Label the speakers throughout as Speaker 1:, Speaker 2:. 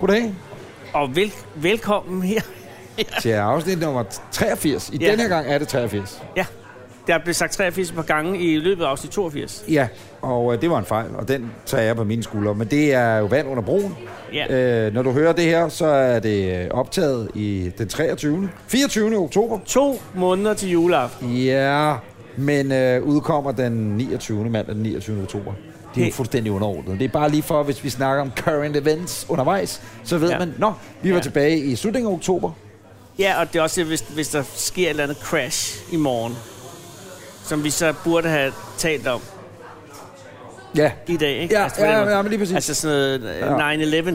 Speaker 1: Goddag
Speaker 2: Og vel, velkommen her.
Speaker 1: til afsnit nummer 83. I ja.
Speaker 2: Ja.
Speaker 1: den her gang er det 83.
Speaker 2: Ja, der blev sagt 83 par gange i løbet af afsnit 82.
Speaker 1: Ja, og øh, det var en fejl, og den tager jeg på mine skuldre. Men det er jo vand under broen.
Speaker 2: Ja.
Speaker 1: Øh, når du hører det her, så er det øh, optaget i den 23. 24. oktober.
Speaker 2: To måneder til juleaften.
Speaker 1: Ja, men øh, udkommer den 29. mandag den 29. oktober. Det er jo
Speaker 2: Det-
Speaker 1: fuldstændig underordnet. Det er bare lige for, hvis vi snakker om current events undervejs, så ved ja.
Speaker 2: Ja.
Speaker 1: man, nå, vi var ja.
Speaker 2: Ja.
Speaker 1: tilbage i slutningen af oktober.
Speaker 2: Ja, og det er også, hvis, hvis der sker et eller andet crash i morgen, som vi så burde have talt om
Speaker 1: Ja,
Speaker 2: i dag, ikke?
Speaker 1: Ja,
Speaker 2: på den
Speaker 1: ja,
Speaker 2: måde.
Speaker 1: ja, men lige præcis.
Speaker 2: Altså sådan noget øh,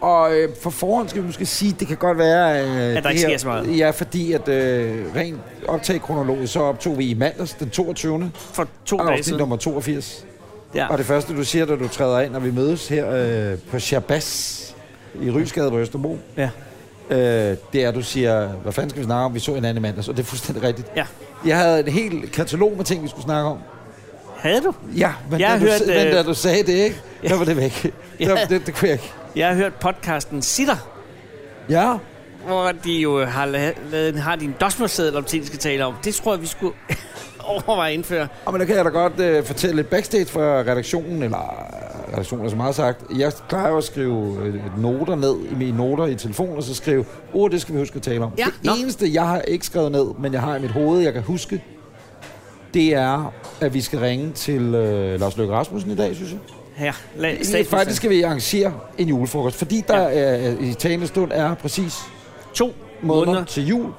Speaker 2: 9-11.
Speaker 1: Og øh, for forhånd skal vi måske sige, at det kan godt være... Øh, at
Speaker 2: der ikke sker så meget.
Speaker 1: Ja, fordi at øh, rent optaget kronologisk, så optog vi i mandags den 22.
Speaker 2: For to dage
Speaker 1: afsnit
Speaker 2: siden.
Speaker 1: nummer 82.
Speaker 2: Ja.
Speaker 1: Og det første, du siger, da du træder ind, når vi mødes her øh, på Chabas i Rysgade på Østerbro,
Speaker 2: ja.
Speaker 1: øh, det er, at du siger, hvad fanden skal vi snakke om? Vi så en anden mandags, og det er fuldstændig rigtigt.
Speaker 2: ja.
Speaker 1: Jeg havde en hel katalog med ting, vi skulle snakke om.
Speaker 2: Havde du?
Speaker 1: Ja, men,
Speaker 2: Jeg
Speaker 1: da,
Speaker 2: har
Speaker 1: du,
Speaker 2: hørt,
Speaker 1: hørt, men
Speaker 2: øh,
Speaker 1: da du sagde det, ikke? Ja.
Speaker 2: Ja.
Speaker 1: Der var det væk.
Speaker 2: Ja.
Speaker 1: Der, det, det kunne jeg ikke.
Speaker 2: Jeg har hørt podcasten Sitter,
Speaker 1: Ja,
Speaker 2: hvor de jo har, la- lavet, har din dosmerseddel om ting, de skal tale om. Det tror jeg, vi skulle overveje at indføre.
Speaker 1: Og men der kan jeg da godt øh, fortælle lidt backstage fra redaktionen, eller øh, redaktionen er så meget sagt. Jeg plejer jo at skrive øh, noter ned i mine noter i telefonen, og så skrive, åh, oh, det skal vi huske at tale om.
Speaker 2: Ja,
Speaker 1: det
Speaker 2: nå.
Speaker 1: eneste, jeg har ikke skrevet ned, men jeg har i mit hoved, jeg kan huske, det er, at vi skal ringe til øh, Lars Løkke Rasmussen i dag, synes jeg.
Speaker 2: Ja, la-
Speaker 1: Statsminister. Faktisk skal vi arrangere en julefrokost, fordi der ja. øh, i talende stund er præcis
Speaker 2: to
Speaker 1: måneder,
Speaker 2: måneder.
Speaker 1: til jul.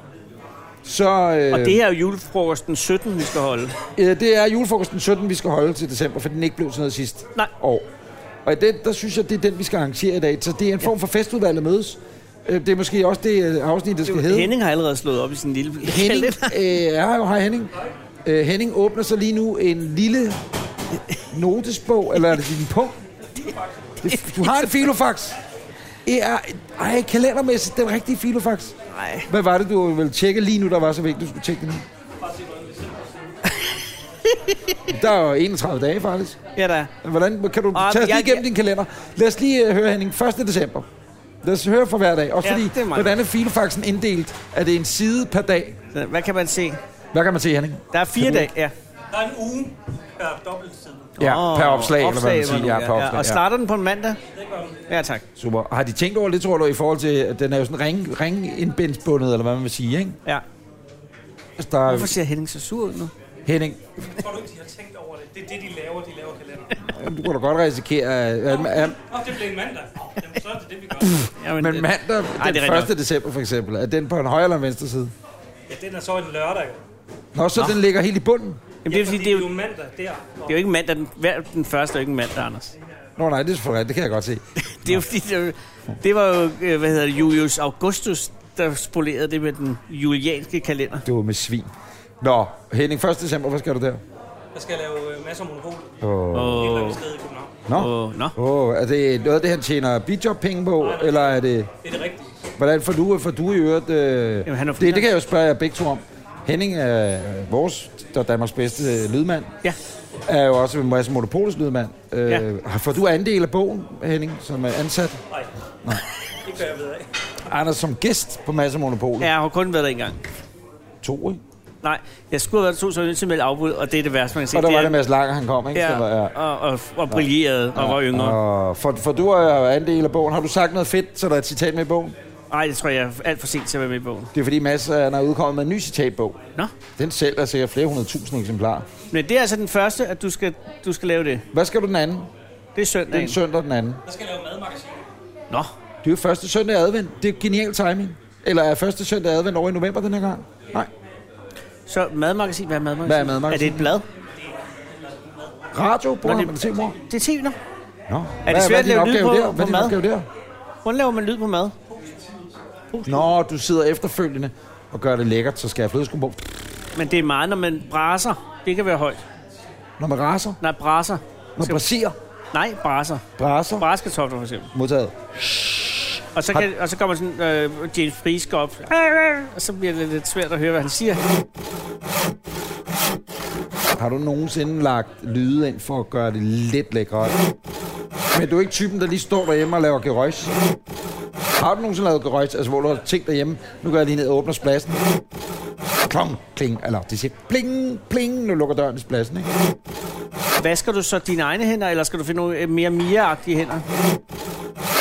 Speaker 1: Så, øh,
Speaker 2: Og det her er jo julefrokosten 17, vi skal holde.
Speaker 1: Ja, det er julefrokosten 17, vi skal holde til december, for den ikke blev sådan noget sidste
Speaker 2: Nej.
Speaker 1: år. Og i den, der synes jeg, det er den, vi skal arrangere i dag. Så det er en form for festudvalget mødes. Øh, Det er måske også det øh, afsnit, det skal hedde.
Speaker 2: Henning har allerede slået op i sin lille...
Speaker 1: Henning
Speaker 2: kalender.
Speaker 1: øh, er jo, hej Henning. Øh, Henning åbner så lige nu en lille notesbog, eller er det din punkt? Det, du har en filofax. Det er, ej, kalendermæssigt, den rigtige filofax.
Speaker 2: Nej.
Speaker 1: Hvad var det, du ville tjekke lige nu, der var så vigtigt, du skulle tjekke det nu? Der er jo 31 dage, faktisk.
Speaker 2: Ja, der er.
Speaker 1: Hvordan kan du
Speaker 2: Ah,
Speaker 1: tage os lige
Speaker 2: jeg-
Speaker 1: igennem din kalender? Lad os lige øh, høre, Henning. 1. december. Lad os høre for hver dag. Også
Speaker 2: Ja,
Speaker 1: fordi,
Speaker 2: det er meget
Speaker 1: hvordan er filofaxen inddelt? Er det en side per dag?
Speaker 2: Så Hvad kan man se?
Speaker 1: Hvad kan man se, Henning?
Speaker 2: Der er fire
Speaker 1: Kan du-
Speaker 2: dage, ja.
Speaker 3: Der er en uge per dobbeltside.
Speaker 1: Ja,
Speaker 2: Åh,
Speaker 1: per opslag, eller hvad man
Speaker 2: eller
Speaker 1: siger. Ja,
Speaker 2: nu,
Speaker 1: per opslag,
Speaker 2: Og
Speaker 1: ja.
Speaker 2: starter den på en mandag?
Speaker 3: Det gør den.
Speaker 2: Ja, tak.
Speaker 1: Super. Har de tænkt over det, tror du, i forhold til, at den er jo sådan ring, ringindbindsbundet, eller hvad man vil sige, ikke?
Speaker 2: Ja.
Speaker 1: Altså, der er
Speaker 2: Hvorfor ser Henning så sur ud nu?
Speaker 1: Henning,
Speaker 3: Tror du ikke, de har tænkt over det? Det er det, de laver. De laver kalender.
Speaker 1: du kan da godt risikere... at- at- at-
Speaker 3: Nå, det blev en mandag. Jamen, så er det det, vi gør.
Speaker 2: Jamen,
Speaker 1: Men
Speaker 2: øh,
Speaker 1: mandag, den
Speaker 2: det
Speaker 1: 1.
Speaker 2: er rigtigt
Speaker 1: december for eksempel, er den på en højre eller en venstre side?
Speaker 3: Ja, den er så en lørdag. jo.
Speaker 1: Nå, så Nå. den ligger helt i bunden.
Speaker 2: Jamen,
Speaker 3: Ja,
Speaker 2: det er fordi, det er jo,
Speaker 3: jo mandag der.
Speaker 2: det er jo ikke mandag. Den, hver- den første er jo ikke en mandag, Anders.
Speaker 1: Nå nej, det er for rigtigt, det kan jeg godt se.
Speaker 2: Det er jo fordi, det, er jo- det var jo, øh, hvad hedder det, Julius Augustus, der spolerede det med den julianske kalender.
Speaker 1: Det var med svin. Nå, Henning, 1. december, hvad skal du der?
Speaker 3: Jeg skal lave øh, masser af monopol. Et
Speaker 1: Åh, oh.
Speaker 3: eller
Speaker 2: Og,
Speaker 3: andet sted i København.
Speaker 1: Nå.
Speaker 2: og, nå.
Speaker 1: Oh, er det noget af det, han tjener bidjob-penge på, eller er det...
Speaker 3: Det er det rigtige.
Speaker 1: Hvordan får du, får du i øvrigt... Øh,
Speaker 2: Jamen, han er
Speaker 1: det, det kan jeg jo spørge jer begge to om. Henning er øh, vores, der er Danmarks bedste øh, lydmand,
Speaker 2: Ja,
Speaker 1: er jo også en masse monopolets lydmand. Øh,
Speaker 2: Ja.
Speaker 1: ja. Får du andel af bogen, Henning, som er ansat?
Speaker 3: Nej. Det gør jeg ved af.
Speaker 1: Anders som gæst på masse monopolet. Ja.
Speaker 2: jeg har kun været der en gang.
Speaker 1: To, ikke?
Speaker 2: Nej, jeg skulle have været to, så var jeg nødt til at melde afbud, og det er det værste, man kan se.
Speaker 1: Og der
Speaker 2: Det
Speaker 1: var
Speaker 2: er-
Speaker 1: det Mads Langer, han kom, ikke? Så var-
Speaker 2: Ja, og, og, og brillerede, og var yngre.
Speaker 1: Og for, for du er jo andel af bogen. Har du sagt noget fedt, så der er et citat med i bogen?
Speaker 2: Nej, det tror jeg er alt for sent til at være med i bogen.
Speaker 1: Det er fordi Mads øh, han er udkommet med en ny citatbog.
Speaker 2: Nå,
Speaker 1: Den sælger sikkert flere hundrede tusind eksemplarer.
Speaker 2: men det er altså den første, at du skal, du skal lave det.
Speaker 1: Hvad skal du den anden?
Speaker 2: Det er
Speaker 1: Det er en
Speaker 2: søndagen.
Speaker 1: søndag den anden.
Speaker 3: Jeg skal lave madmagasin.
Speaker 2: Nå,
Speaker 1: Det er jo første søndag i advent. Det er genial timing. Eller er første søndag i advent over i november den her gang? Nej.
Speaker 2: så madmagasin. Hvad er madmagasin?
Speaker 1: Hvad er madmagasin?
Speaker 2: Er det et blad?
Speaker 1: Radio, bror,
Speaker 2: Nå,
Speaker 1: man
Speaker 2: det-
Speaker 1: det se, mor.
Speaker 2: Det er tv, nå.
Speaker 1: Nå. Er
Speaker 2: det svært at
Speaker 1: din
Speaker 2: lave lyd
Speaker 1: opgave
Speaker 2: på-
Speaker 1: der?
Speaker 2: på
Speaker 1: Hvad er din
Speaker 2: mad?
Speaker 1: opgave der?
Speaker 2: Hvordan laver man lyd på mad?
Speaker 1: Nå, du sidder efterfølgende og gør det lækkert, så skal jeg flødeskum på.
Speaker 2: Men det er meget, når man braser. Det kan være højt.
Speaker 1: Når man raser,
Speaker 2: Nej, braser.
Speaker 1: når man braser,
Speaker 2: Nej, braser.
Speaker 1: braser,
Speaker 2: Braskartofler for eksempel.
Speaker 1: modtaget.
Speaker 2: Og så, kan, og så kommer sådan, øh, James Friis går op. Og så bliver det lidt svært at høre, hvad han siger.
Speaker 1: Har du nogensinde lagt lyde ind for at gøre det lidt lækre? Men du er ikke typen, der lige står derhjemme og laver gerøjs. Har du nogensinde lavet gerøjs? Altså, hvor du har tænkt derhjemme, nu går jeg lige ned og åbner spladsen. Klong, kling, eller det siger pling, pling, nu lukker døren til spladsen, ikke?
Speaker 2: Vasker du så dine egne hænder, eller skal du finde nogle øh, mere Mia-agtige hænder?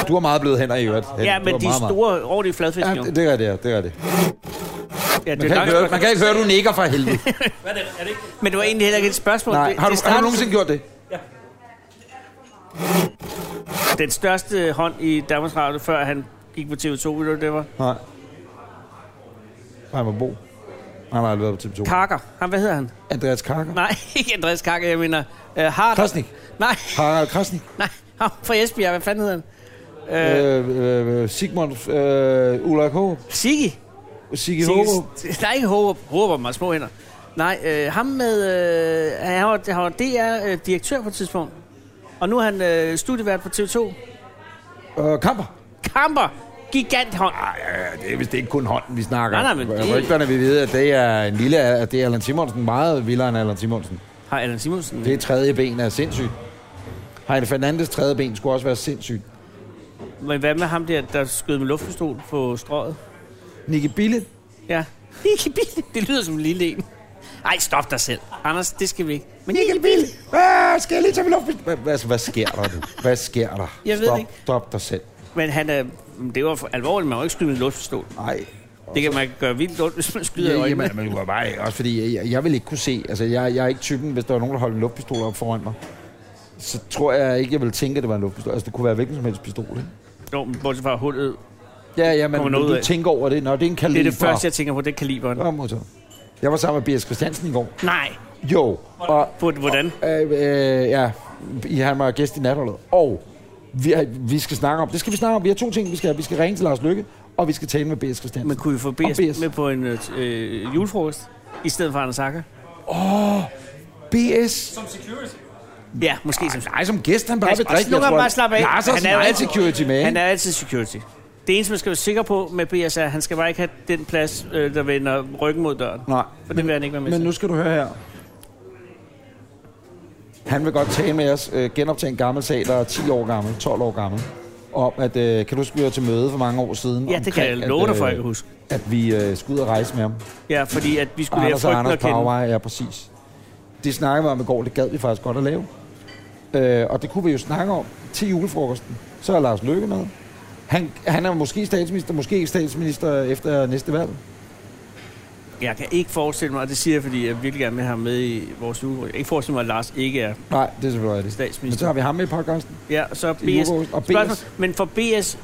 Speaker 1: Du har meget bløde hænder i øvrigt. Henning.
Speaker 2: Ja,
Speaker 1: Du
Speaker 2: men
Speaker 1: har
Speaker 2: de
Speaker 1: meget, meget-
Speaker 2: store, ordentlige fladfisk,
Speaker 1: Ja,
Speaker 2: jo.
Speaker 1: det, det er det, ja, det er det.
Speaker 2: Ja, det
Speaker 1: Man
Speaker 2: er
Speaker 1: kan,
Speaker 2: langt,
Speaker 1: ikke høre, man kan ikke høre, du nikker for helvede.
Speaker 3: Hvad er det? Er det ikke?
Speaker 2: Men det var egentlig heller ikke et spørgsmål.
Speaker 1: Nej,
Speaker 2: det,
Speaker 1: har du, har
Speaker 2: det
Speaker 1: du
Speaker 2: startede-
Speaker 1: nogensinde gjort det?
Speaker 2: Den største hånd i Danmarks Radio, før han gik på TV2, ved du, det var
Speaker 1: Nej. Nej, man bo. Han har aldrig været på TV2.
Speaker 2: Karker. Han, hvad hedder han?
Speaker 1: Andreas Karker.
Speaker 2: Nej, ikke Andreas Karker, jeg mener uh, Harder.
Speaker 1: Krasnik.
Speaker 2: Nej,
Speaker 1: Harald Krasnik.
Speaker 2: nej, ham fra Esbjerg, hvad fanden hedder han?
Speaker 1: Øh, øh, Sigmund øh, Ulrik Håb.
Speaker 2: Sigge.
Speaker 1: Sigge
Speaker 2: Sigge-
Speaker 1: Håb.
Speaker 2: Der er ikke Håber, Håber mig små hænder. Nej, øh, ham med, øh, han var, han var DR-direktør på et tidspunkt. Og nu er han øh, studievært på TV2.
Speaker 1: Øh, Kamper.
Speaker 2: Kamper, gigant hånd.
Speaker 1: Ja, det er vist ikke kun hånden, vi snakker.
Speaker 2: Nej, nej, men det-
Speaker 1: Rygterne vil vide, at det er en lille... At det er Allan Simonsen meget vildere end Allan Simonsen.
Speaker 2: Har Allan Simonsen.
Speaker 1: Det tredje ben er sindssygt. Heine Fernandes tredje ben skulle også være sindssygt.
Speaker 2: Men hvad med ham der, der skød med luftpistol på strøget?
Speaker 1: Nicky Bille.
Speaker 2: Ja. Nicky Bille. Det lyder som en lille en. Ej, stop dig selv. Anders, det skal vi ikke. Men Nicky Bille.
Speaker 1: Hvad skal jeg lige tage min luft? Hvad, altså, hvad sker der nu? Hvad sker der?
Speaker 2: Jeg ved
Speaker 1: stop,
Speaker 2: det ikke.
Speaker 1: Stop dig selv.
Speaker 2: Men han er... men Det var for alvorligt, man må ikke skyde med en luftpistol.
Speaker 1: Nej.
Speaker 2: Det kan man gøre vildt ondt, hvis man skyder i
Speaker 1: Ja,
Speaker 2: øjnene.
Speaker 1: jamen, men du var bare også fordi, jeg, jeg vil ikke kunne se, altså jeg, jeg er ikke typen, hvis der var nogen, der holdt en luftpistol op foran mig, så tror jeg ikke, jeg ville tænke, at det var en luftpistol. Altså det kunne være hvilken som helst pistol, ikke?
Speaker 2: Jo, men bortset fra hullet.
Speaker 1: Ja, ja, men
Speaker 2: Kommer noget
Speaker 1: du
Speaker 2: ud af.
Speaker 1: tænker over det, når det er en
Speaker 2: Det
Speaker 1: kaliber.
Speaker 2: er det første, jeg tænker på, det er kaliberen.
Speaker 1: jeg... modtaget. Jeg var sammen med B.S. Christiansen i går.
Speaker 2: Nej.
Speaker 1: Jo, og
Speaker 2: Hvor- Hvordan?
Speaker 1: øh, øh, ja, I- han var gæst i natholdet. Og vi, har- vi skal snakke om, det skal vi snakke om, vi har to ting, vi skal Vi skal ringe til Lars Lykke, og vi skal tale med B.S. Christiansen.
Speaker 2: Man kunne jo få
Speaker 1: Om
Speaker 2: BS
Speaker 1: BS.
Speaker 2: med på en øh, julefrokost, i stedet for Anders Akker.
Speaker 1: B.S.
Speaker 3: Som security.
Speaker 2: Ja, måske som
Speaker 1: Nej, som gæst, han bare
Speaker 2: Altså,
Speaker 1: vil drikke.
Speaker 2: også nogle
Speaker 1: jeg
Speaker 2: gange
Speaker 1: tror,
Speaker 2: bare slappe af.
Speaker 1: Lars er
Speaker 2: Han er
Speaker 1: sådan
Speaker 2: jo
Speaker 1: meget
Speaker 2: altid-
Speaker 1: security man.
Speaker 2: Han er altid security. Det eneste, man skal være sikker på med BS, er, at han skal bare ikke have den plads, øh, der vender ryggen mod døren.
Speaker 1: Nej,
Speaker 2: For det vil han ikke være med
Speaker 1: men
Speaker 2: til.
Speaker 1: nu skal du høre her. Han vil godt tale med os, øh, genoptage en gammel sag, der er 10 år gammel, 12 år gammel, om at, øh, kan du huske, vi var til møde for mange år siden?
Speaker 2: Ja, det kan jeg
Speaker 1: omkring,
Speaker 2: love dig
Speaker 1: at,
Speaker 2: for, jeg
Speaker 1: øh,
Speaker 2: kan huske.
Speaker 1: At vi øh, skulle ud og rejse med ham.
Speaker 2: Ja, fordi at vi skulle lære
Speaker 1: Anders og
Speaker 2: frygten
Speaker 1: Anders
Speaker 2: at kende.
Speaker 1: Powerwire, ja, præcis. Det snakkede vi om i går, det gad vi faktisk godt at lave. Øh, og det kunne vi jo snakke om til julefrokosten. Så er Lars Løkke med. Han, han er måske statsminister, måske ikke statsminister efter næste valg.
Speaker 2: Jeg kan ikke forestille mig, og det siger jeg, fordi jeg virkelig gerne vil have ham med i vores uge. Jeg kan ikke forestille mig, at Lars ikke er
Speaker 1: Nej, det er selvfølgelig rigtigt. Men så
Speaker 2: statsminister.
Speaker 1: har vi ham med i podcasten.
Speaker 2: Ja, så er
Speaker 1: I
Speaker 2: BS...
Speaker 1: julefrokosten. Og
Speaker 2: Spørgsmål,
Speaker 1: BS.
Speaker 2: men får BS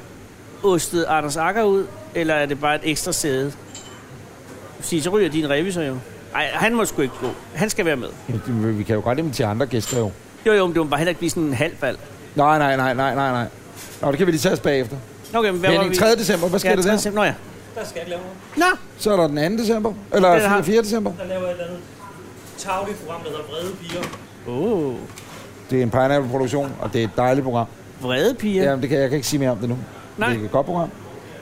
Speaker 2: ostet Anders Akker ud, eller er det bare et ekstra sæde? Sige, så ryger din revisor jo. Nej, han må sgu ikke gå. Han skal være med.
Speaker 1: Jamen, det- Vi kan jo godt invitere andre gæster jo.
Speaker 2: Jo, jo, men det må bare heller ikke blive sådan en halv valg.
Speaker 1: Nej, nej, nej, nej, nej, nej. Nå, det kan vi lige tage os bagefter.
Speaker 2: Okay, men hvad var
Speaker 1: Henning,
Speaker 2: vi?
Speaker 1: 3. december, hvad sker
Speaker 2: ja,
Speaker 1: der
Speaker 2: 3.
Speaker 1: der?
Speaker 2: december. Nå ja.
Speaker 3: Der skal jeg ikke lave noget.
Speaker 2: Nå,
Speaker 1: Så er der den 2. december, eller
Speaker 2: Det er der har-
Speaker 1: 4. 4. december.
Speaker 3: Der laver jeg et eller andet tagligt program, der hedder Brede Piger.
Speaker 2: Åh, oh,
Speaker 1: Det er en Pineapple-produktion, og det er et dejligt program.
Speaker 2: vrede piger.
Speaker 1: Jamen, det kan, jeg kan ikke sige mere om det nu.
Speaker 2: Nej.
Speaker 1: Det er et godt program.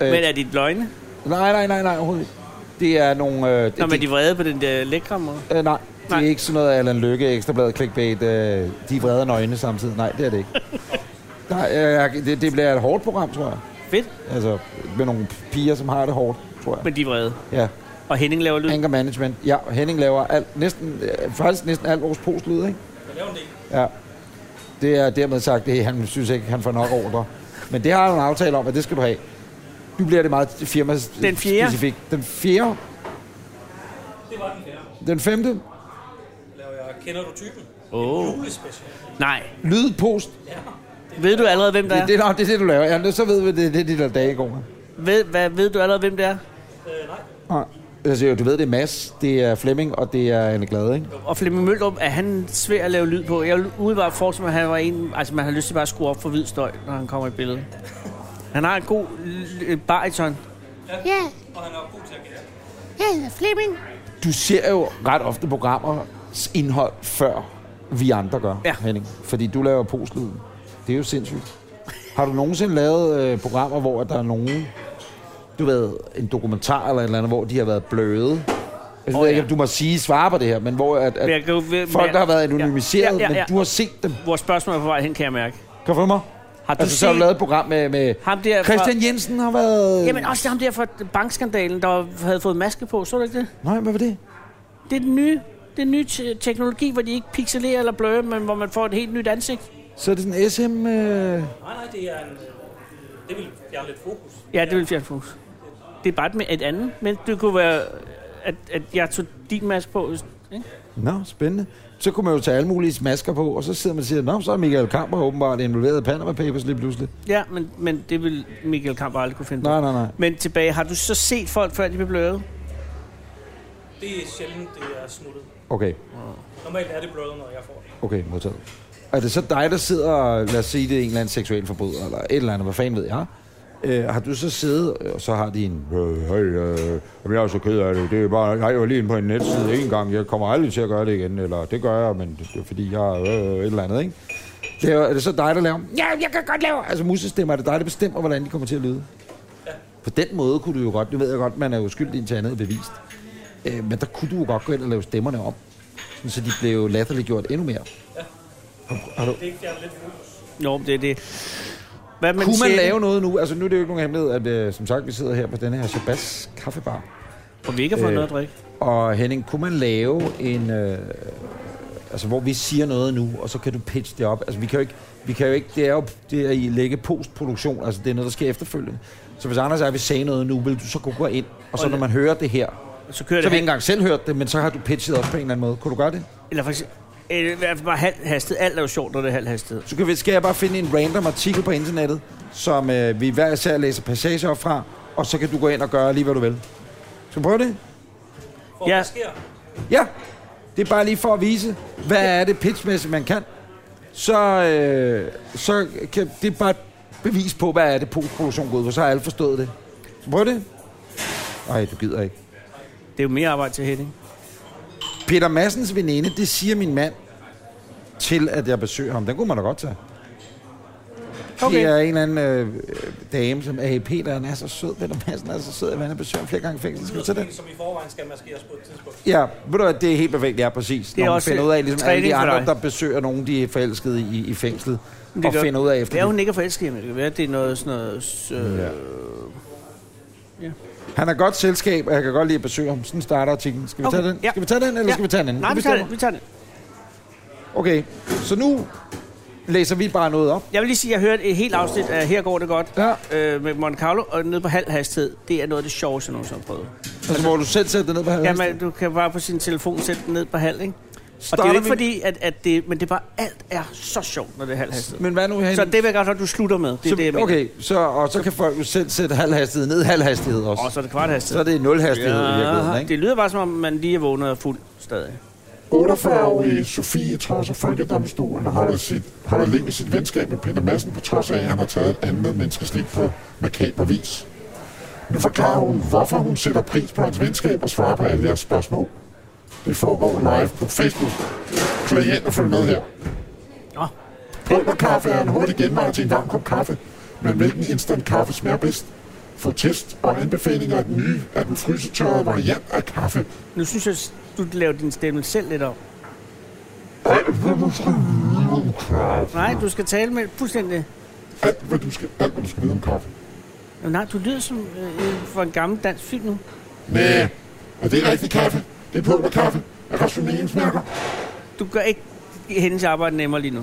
Speaker 1: Øh,
Speaker 2: Men er de løgne?
Speaker 1: Nej, nej, nej, nej, overhovedet ikke. Det er nogle... Øh, det,
Speaker 2: Nå, men de er vrede på den der lækre måde.
Speaker 1: øh, nej,
Speaker 2: Nej.
Speaker 1: det er ikke sådan noget Allan Lykke, Ekstrabladet, clickbait, øh, de er vrede nøgne samtidig. Nej, det er det ikke. Nej, øh, det, det bliver et hårdt program, tror jeg.
Speaker 2: Fedt,
Speaker 1: Altså, med nogle piger, som har det hårdt, tror jeg.
Speaker 2: men de er vrede.
Speaker 1: Ja.
Speaker 2: Og Henning laver lyd.
Speaker 1: Anger management. Ja, og Henning laver alt, næsten, øh, faktisk næsten alt vores postlyd, ikke?
Speaker 3: Jeg laver en del.
Speaker 1: Ja. Det er dermed sagt, at han synes ikke, han får nok ordre. Men det har han en aftale om, at det skal du have. Nu bliver det meget firma
Speaker 2: Den fjerde?
Speaker 1: specifikt. Den fjerde.
Speaker 3: Det var den her.
Speaker 1: Den femte.
Speaker 3: Der laver jeg Kender du typen?
Speaker 2: Åh, oh.
Speaker 3: Julespecial.
Speaker 2: nej.
Speaker 1: Lydpost.
Speaker 2: Ved du allerede, hvem det
Speaker 1: Det,
Speaker 2: er?
Speaker 1: det, det, det er det, du laver. Ja, så ved vi, det, det er de der dage i går.
Speaker 2: Ved, hvad, ved du allerede, hvem det er?
Speaker 3: Øh, nej.
Speaker 1: Nej. Altså, jo, du ved, det er Mads, det er Flemming, og det er Anne Glade, ikke?
Speaker 2: Og Flemming Møldrup, er han svær at lave lyd på? Jeg vil umiddelbart forestille mig, at han var en... Altså, man har lyst til bare at skrue op for hvid støj, når han kommer i billedet. Han har en god øh, bariton.
Speaker 4: Ja,
Speaker 3: Og han er jo god til at gætte.
Speaker 4: jeg hedder Flemming.
Speaker 1: Du ser jo ret ofte programmers indhold, før vi andre gør,
Speaker 2: Ja.
Speaker 1: Henning. Fordi du laver postlyden. Det er jo sindssygt. Har du nogensinde lavet øh, programmer, hvor der er nogen, du ved, en dokumentar eller et eller andet, hvor de har været bløde? Altså, Jeg ved
Speaker 2: Åh,
Speaker 1: ikke,
Speaker 2: ja.
Speaker 1: om du må sige svare på det her, men hvor at, at
Speaker 2: Jeg kan jo-
Speaker 1: folk, der har været anonymiseret,
Speaker 2: Ja, ja, ja, ja.
Speaker 1: men du har set dem.
Speaker 2: Vores spørgsmål er på vej hen, kan jeg mærke.
Speaker 1: Kan du følge mig?
Speaker 2: Har du
Speaker 1: Altså, så har du
Speaker 2: set-
Speaker 1: lavet et program med... med
Speaker 2: Ham der fra-
Speaker 1: Christian Jensen har været...
Speaker 2: Jamen også ham der fra bankskandalen, der havde fået maske på, så du ikke det?
Speaker 1: Nej, hvad var det?
Speaker 2: Det er den nye, det er den nye te- teknologi, hvor de ikke pixelerer eller blører, men hvor man får et helt nyt ansigt.
Speaker 1: Så er det sådan en SM... Øh...
Speaker 3: Nej, nej, det er en... øh, Det vil fjerne lidt fokus.
Speaker 2: Ja, det vil fjerne fokus. Det er bare et, et andet, men det kunne være, at, at jeg tog din maske på. Ikke?
Speaker 1: Nå, spændende. Så kunne man jo tage alle mulige masker på, og så sidder man og siger, Nå, så er Michael Kamper åbenbart involveret i Panama Papers lige pludselig.
Speaker 2: Ja, men, men det vil Michael Kamp aldrig kunne finde på.
Speaker 1: Nej, nej, nej.
Speaker 2: Men tilbage, har du så set folk, før de blev bløret?
Speaker 3: Det er sjældent, det er snuttet.
Speaker 1: Okay,
Speaker 3: Normalt er det blødet, når jeg får det.
Speaker 1: okay, modtaget. Er det så dig, der sidder, og- lad os sige, det er en eller anden seksuel forbryder, eller et eller andet, hvad fanden ved jeg? Øh, har du så siddet, og så har de en... Øh, hey, øh, jamen, jeg er så ked af det. Det er bare, jeg var lige inde på en netside en gang. Jeg kommer aldrig til at gøre det igen. Eller det gør jeg, men det er fordi, jeg er øh, et eller andet, ikke? Det er, er det så dig, der laver? Ja, jeg kan godt lave... Altså, musestemmer, er det dig, der bestemmer, hvordan de kommer til at lyde? På den måde kunne du jo godt, nu ved jeg godt, man er jo skyldig indtil andet er bevist, øh, men der kunne du jo godt gå ind og lave stemmerne om, sådan så de blev latterligt gjort endnu mere. Har du,
Speaker 3: Det er fjerne lidt fokus.
Speaker 2: Jo, det er det. Hvad med den
Speaker 1: kunne man
Speaker 2: sjette?
Speaker 1: lave noget nu? Altså nu er det jo ikke nogen hemmelighed, at øh, som sagt, vi sidder her på denne her Shabazz kaffebar.
Speaker 2: Og vi ikke har fået
Speaker 1: Øh.
Speaker 2: øh. noget at drikke.
Speaker 1: Og Henning, kunne man lave en... Øh, altså, hvor vi siger noget nu, og så kan du pitche det op. Altså, vi kan jo ikke... Vi kan jo ikke det er jo det er i lægge postproduktion, altså det er noget, der sker efterfølgende. Så hvis Anders og jeg vil sige noget nu, vil du så kunne gå ind, og så når man hører det her,
Speaker 2: Så kører
Speaker 1: Så har
Speaker 2: det
Speaker 1: vi ikke engang selv hørt det, men så har du pitchet op på en eller anden måde. Kunne du gøre det?
Speaker 2: Eller for eksempel, øh, i hvert fald bare halv hastighed. Alt er jo sjovt, når det er halv hastighed.
Speaker 1: Så kan vi, skal jeg bare finde en random artikel på internettet, som øh, vi hver især læser passager op fra, og så kan du gå ind og gøre lige, hvad du vil. Skal vi prøve det?
Speaker 3: For
Speaker 2: Ja.
Speaker 3: ja. hvad sker?
Speaker 1: Ja! Det er bare lige for at vise, hvad er det pitchmæssigt, man kan. Så, øh, så kan, det er bare et bevis på, hvad er det postproduktion går ud på. Så har alle forstået det. Skal vi prøve det? Nej, du gider ikke.
Speaker 2: Det er jo mere arbejde til Henning.
Speaker 1: Peter Massens veninde, det siger min mand, til at jeg besøger ham. Den kunne man da godt tage. Okay. Det er en eller anden øh, øh, dame, som er Peter, han er så sød, Peter Madsen er så sød, at han er besøgt ham flere gange i fængsel. Skal vi tage
Speaker 3: Det er
Speaker 1: det?
Speaker 3: som i forvejen skal maskeres på et tidspunkt.
Speaker 1: Ja, ved du hvad, det er helt perfekt, ja, præcis. Det
Speaker 2: er
Speaker 1: er Når man
Speaker 2: også øh,
Speaker 1: finder ud af, ligesom alle de
Speaker 2: træning for
Speaker 1: andre,
Speaker 2: dig.
Speaker 1: der besøger nogen, de er forelskede i, i fængslet,
Speaker 2: Det
Speaker 1: og
Speaker 2: gør-
Speaker 1: finder ud af
Speaker 2: Det er
Speaker 1: efter det.
Speaker 2: hun ikke er forelsket, i, men det kan være, at det er noget sådan noget... Øh,
Speaker 1: Ja.
Speaker 2: ja.
Speaker 1: Han er godt selskab, og jeg kan godt lide at besøge ham. Sådan starter artiklen. Skal vi
Speaker 2: Okay,
Speaker 1: tage den?
Speaker 2: ja.
Speaker 1: Skal vi tage den, eller
Speaker 2: Ja.
Speaker 1: skal vi tage den anden?
Speaker 2: Nej,
Speaker 1: Du
Speaker 2: vi tager
Speaker 1: bestemmer.
Speaker 2: det. Vi tager det.
Speaker 1: Okay, så nu læser vi bare noget op.
Speaker 2: Jeg vil lige sige, at jeg hørte et helt afsnit af Her går det godt
Speaker 1: Ja.
Speaker 2: øh, med Monte Carlo, og nede på halv hastighed. Det er noget af det sjoveste, jeg nogensinde har prøvet.
Speaker 1: Altså, hvor du selv sætter det ned på halvdelen.
Speaker 2: Jamen, du kan bare på sin telefon sætte den ned på halv, ikke? Og det er
Speaker 1: Starter
Speaker 2: jo ikke
Speaker 1: vi-
Speaker 2: fordi, at, at det... Men det er bare, alt er så sjovt, når det er halv hastighed.
Speaker 1: Men hvad nu, Henning?
Speaker 2: Så det vil jeg godt have, at du slutter med. Det er det, jeg mener.
Speaker 1: okay, så, og så kan folk jo selv sætte halv hastighed ned, halv hastighed også.
Speaker 2: Og så er det kvart
Speaker 1: Så er
Speaker 2: hastighed.
Speaker 1: det nul hastighed ja, i virkeligheden, ikke?
Speaker 2: det lyder bare, som om man lige er vågnet og fuld stadig.
Speaker 5: 48-årige Sofie træsser folkedomstolen og holder, sit, holder liv i sit venskab med Peter Madsen, på trods af, at han har taget et andet menneskes liv på makaber vis. Nu forklarer hun, hvorfor hun sætter pris på hans venskab og svarer på alle jeres spørgsmål. Det foregår live på Facebook. Klik ind og følg med her.
Speaker 2: Nå,
Speaker 5: Pulverkaffe er en hurtig genvej til en varm kop kaffe, men hvilken instant kaffe smager bedst? Få test og anbefalinger af den nye, af den frysetørrede variant af kaffe.
Speaker 2: nu synes jeg, du laver din stemme selv lidt op.
Speaker 5: Alt, hvad du skal vide om kaffe.
Speaker 2: Nej, du skal tale med fuldstændig...
Speaker 5: Alt, hvad du skal, alt, hvad du skal vide om kaffe.
Speaker 2: Jamen, nej, du lyder som øh, en- for en gammel dansk film nu.
Speaker 5: Næh, og det er rigtig kaffe. Det er pulverkaffe. Af rationeringsmærker.
Speaker 2: Du gør ikke hendes arbejde nemmere lige nu.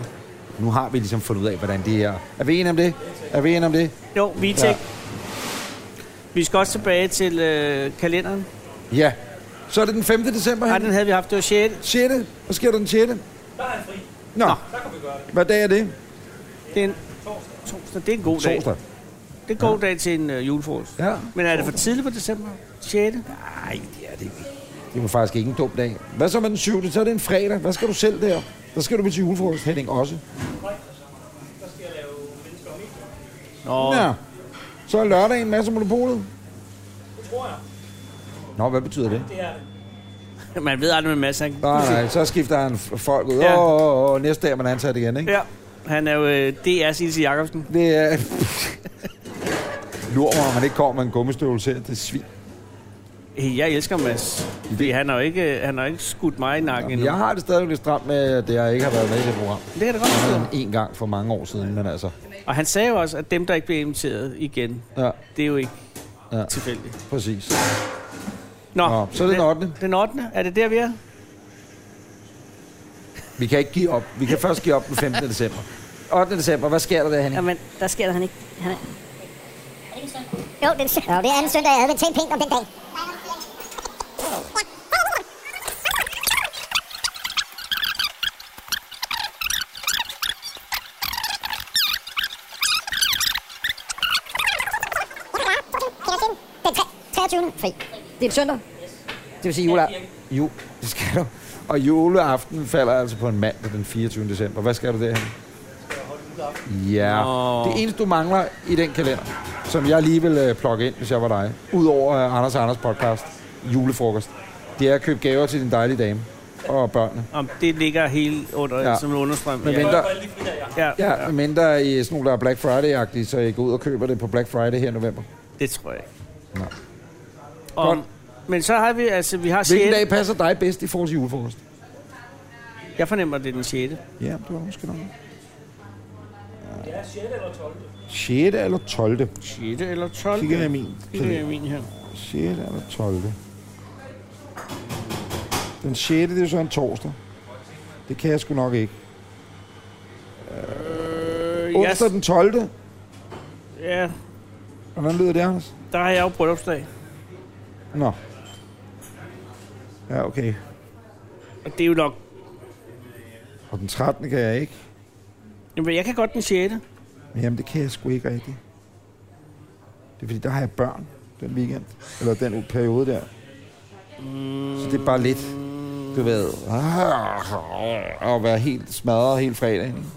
Speaker 1: Nu har vi ligesom fundet ud af, hvordan det er. Er vi enige om det? Er vi enige om det?
Speaker 2: Jo, Vitek. Ja. Vi skal også tilbage til øh, kalenderen.
Speaker 1: Ja. Så er det den 5. december,
Speaker 2: Nej,
Speaker 1: her.
Speaker 2: den havde vi haft, det var 6.
Speaker 1: 6. Hvad sker der den 6.
Speaker 3: Der er en fri.
Speaker 1: Nå, Nå,
Speaker 3: Der kan vi gøre det.
Speaker 1: hvad dag er det?
Speaker 2: Det er en torsdag. Det er en god dag.
Speaker 1: Torsdag.
Speaker 2: Det er en god dag til en øh, julefrokost.
Speaker 1: Ja.
Speaker 2: Men er det for tidligt på december? 6.
Speaker 1: Nej, det er det ikke. Det var faktisk ikke en dum dag. Hvad så med den 7. Så er det en fredag. Hvad skal du selv der? Der skal du med til julefrokost, Henning, også.
Speaker 3: Der skal jeg lave mennesker og medier.
Speaker 2: Nå,
Speaker 1: Ja. Så er lørdagen masser af monopolet.
Speaker 3: Det tror jeg.
Speaker 1: Nå, hvad betyder det?
Speaker 3: Det er det.
Speaker 2: man ved aldrig med masser. ikke?
Speaker 1: Nej, nej, så skifter han f- folk ud. Åh,
Speaker 2: Ja.
Speaker 1: åh, åh, åh, næste dag er man ansat igen, ikke?
Speaker 2: Ja, han er jo øh, DR's Ilse Jacobsen.
Speaker 1: Det er... Lur mig, om han ikke kommer med en gummistøvle til. Det er svin.
Speaker 2: Hey, Jeg elsker Mads. Fordi han har jo ikke, øh, han har jo ikke skudt mig i nakken endnu.
Speaker 1: Jeg har det stadig lidt stramt med, at jeg ikke har været med i det program.
Speaker 2: Det kan da godt forstå.
Speaker 1: En gang for mange år siden, men altså...
Speaker 2: Og han sagde jo også, at dem, der ikke bliver inviteret igen,
Speaker 1: Ja,
Speaker 2: det er jo ikke
Speaker 1: Ja.
Speaker 2: ja. tilfældigt.
Speaker 1: præcis.
Speaker 2: Nå,
Speaker 1: Nå, så er det den 8.
Speaker 2: Den 8. Er det der, vi er?
Speaker 1: Vi kan ikke give op. Vi kan først give op den 15. december. 8. december, hvad sker der der, Henning?
Speaker 6: Jamen, der sker der han ikke. Han er...
Speaker 4: Jo, det er, jo, det er anden søndag. Jeg havde tænkt pænt om den dag. Den 23. fri.
Speaker 6: Det er en søndag.
Speaker 4: Det vil sige jula.
Speaker 1: Jo, det skal du. Og juleaften falder altså på en mandag den 24. december. Hvad skal du der? Ja.
Speaker 2: Nå.
Speaker 1: Det eneste, du mangler i den kalender, som jeg lige vil øh, plukke ind, hvis jeg var dig, udover øh, Anders og Anders podcast, julefrokost, det er at købe gaver til din dejlige dame og børnene.
Speaker 2: Om det ligger helt under,
Speaker 1: Ja.
Speaker 2: ja. som en understrøm.
Speaker 1: Men
Speaker 2: Ja.
Speaker 1: venter.
Speaker 3: alle de fridage, jeg har.
Speaker 2: Ja. ja.
Speaker 1: Ja, mindre i sådan nogle, der er Black Friday-agtige, så I går ud og køber det på Black Friday her i november.
Speaker 2: det tror jeg ikke.
Speaker 1: Nå.
Speaker 2: Om, men så har vi, altså, vi har 6.
Speaker 1: Hvilken dag passer dig bedst i forhold til julefrokost?
Speaker 2: Jeg fornemmer, det er den 6.
Speaker 1: Ja, du har måske nok. Ja, 6. eller 12. 6. eller 12.
Speaker 2: 6. eller 12.
Speaker 1: Kigger jeg i min
Speaker 2: Kigger jeg i min her.
Speaker 1: 6. eller 12. Den 6. det er jo så en torsdag. Det kan jeg sgu nok ikke.
Speaker 2: Øh, jeg,
Speaker 1: Onsdag den 12.
Speaker 2: ja,
Speaker 1: Hvordan lyder det, Anders?
Speaker 2: der har jeg jo bryllupsdag.
Speaker 1: Nå. Ja, okay.
Speaker 2: Og det er jo nok...
Speaker 1: Og den 13. kan jeg ikke.
Speaker 2: Jamen, jeg kan godt den 6.
Speaker 1: Men jamen, det kan jeg sgu ikke rigtigt. Det er fordi, der har jeg børn den weekend. Eller den u- periode der. Så det er bare lidt, du ved, ah, at være helt smadret hele fredagen. ikke?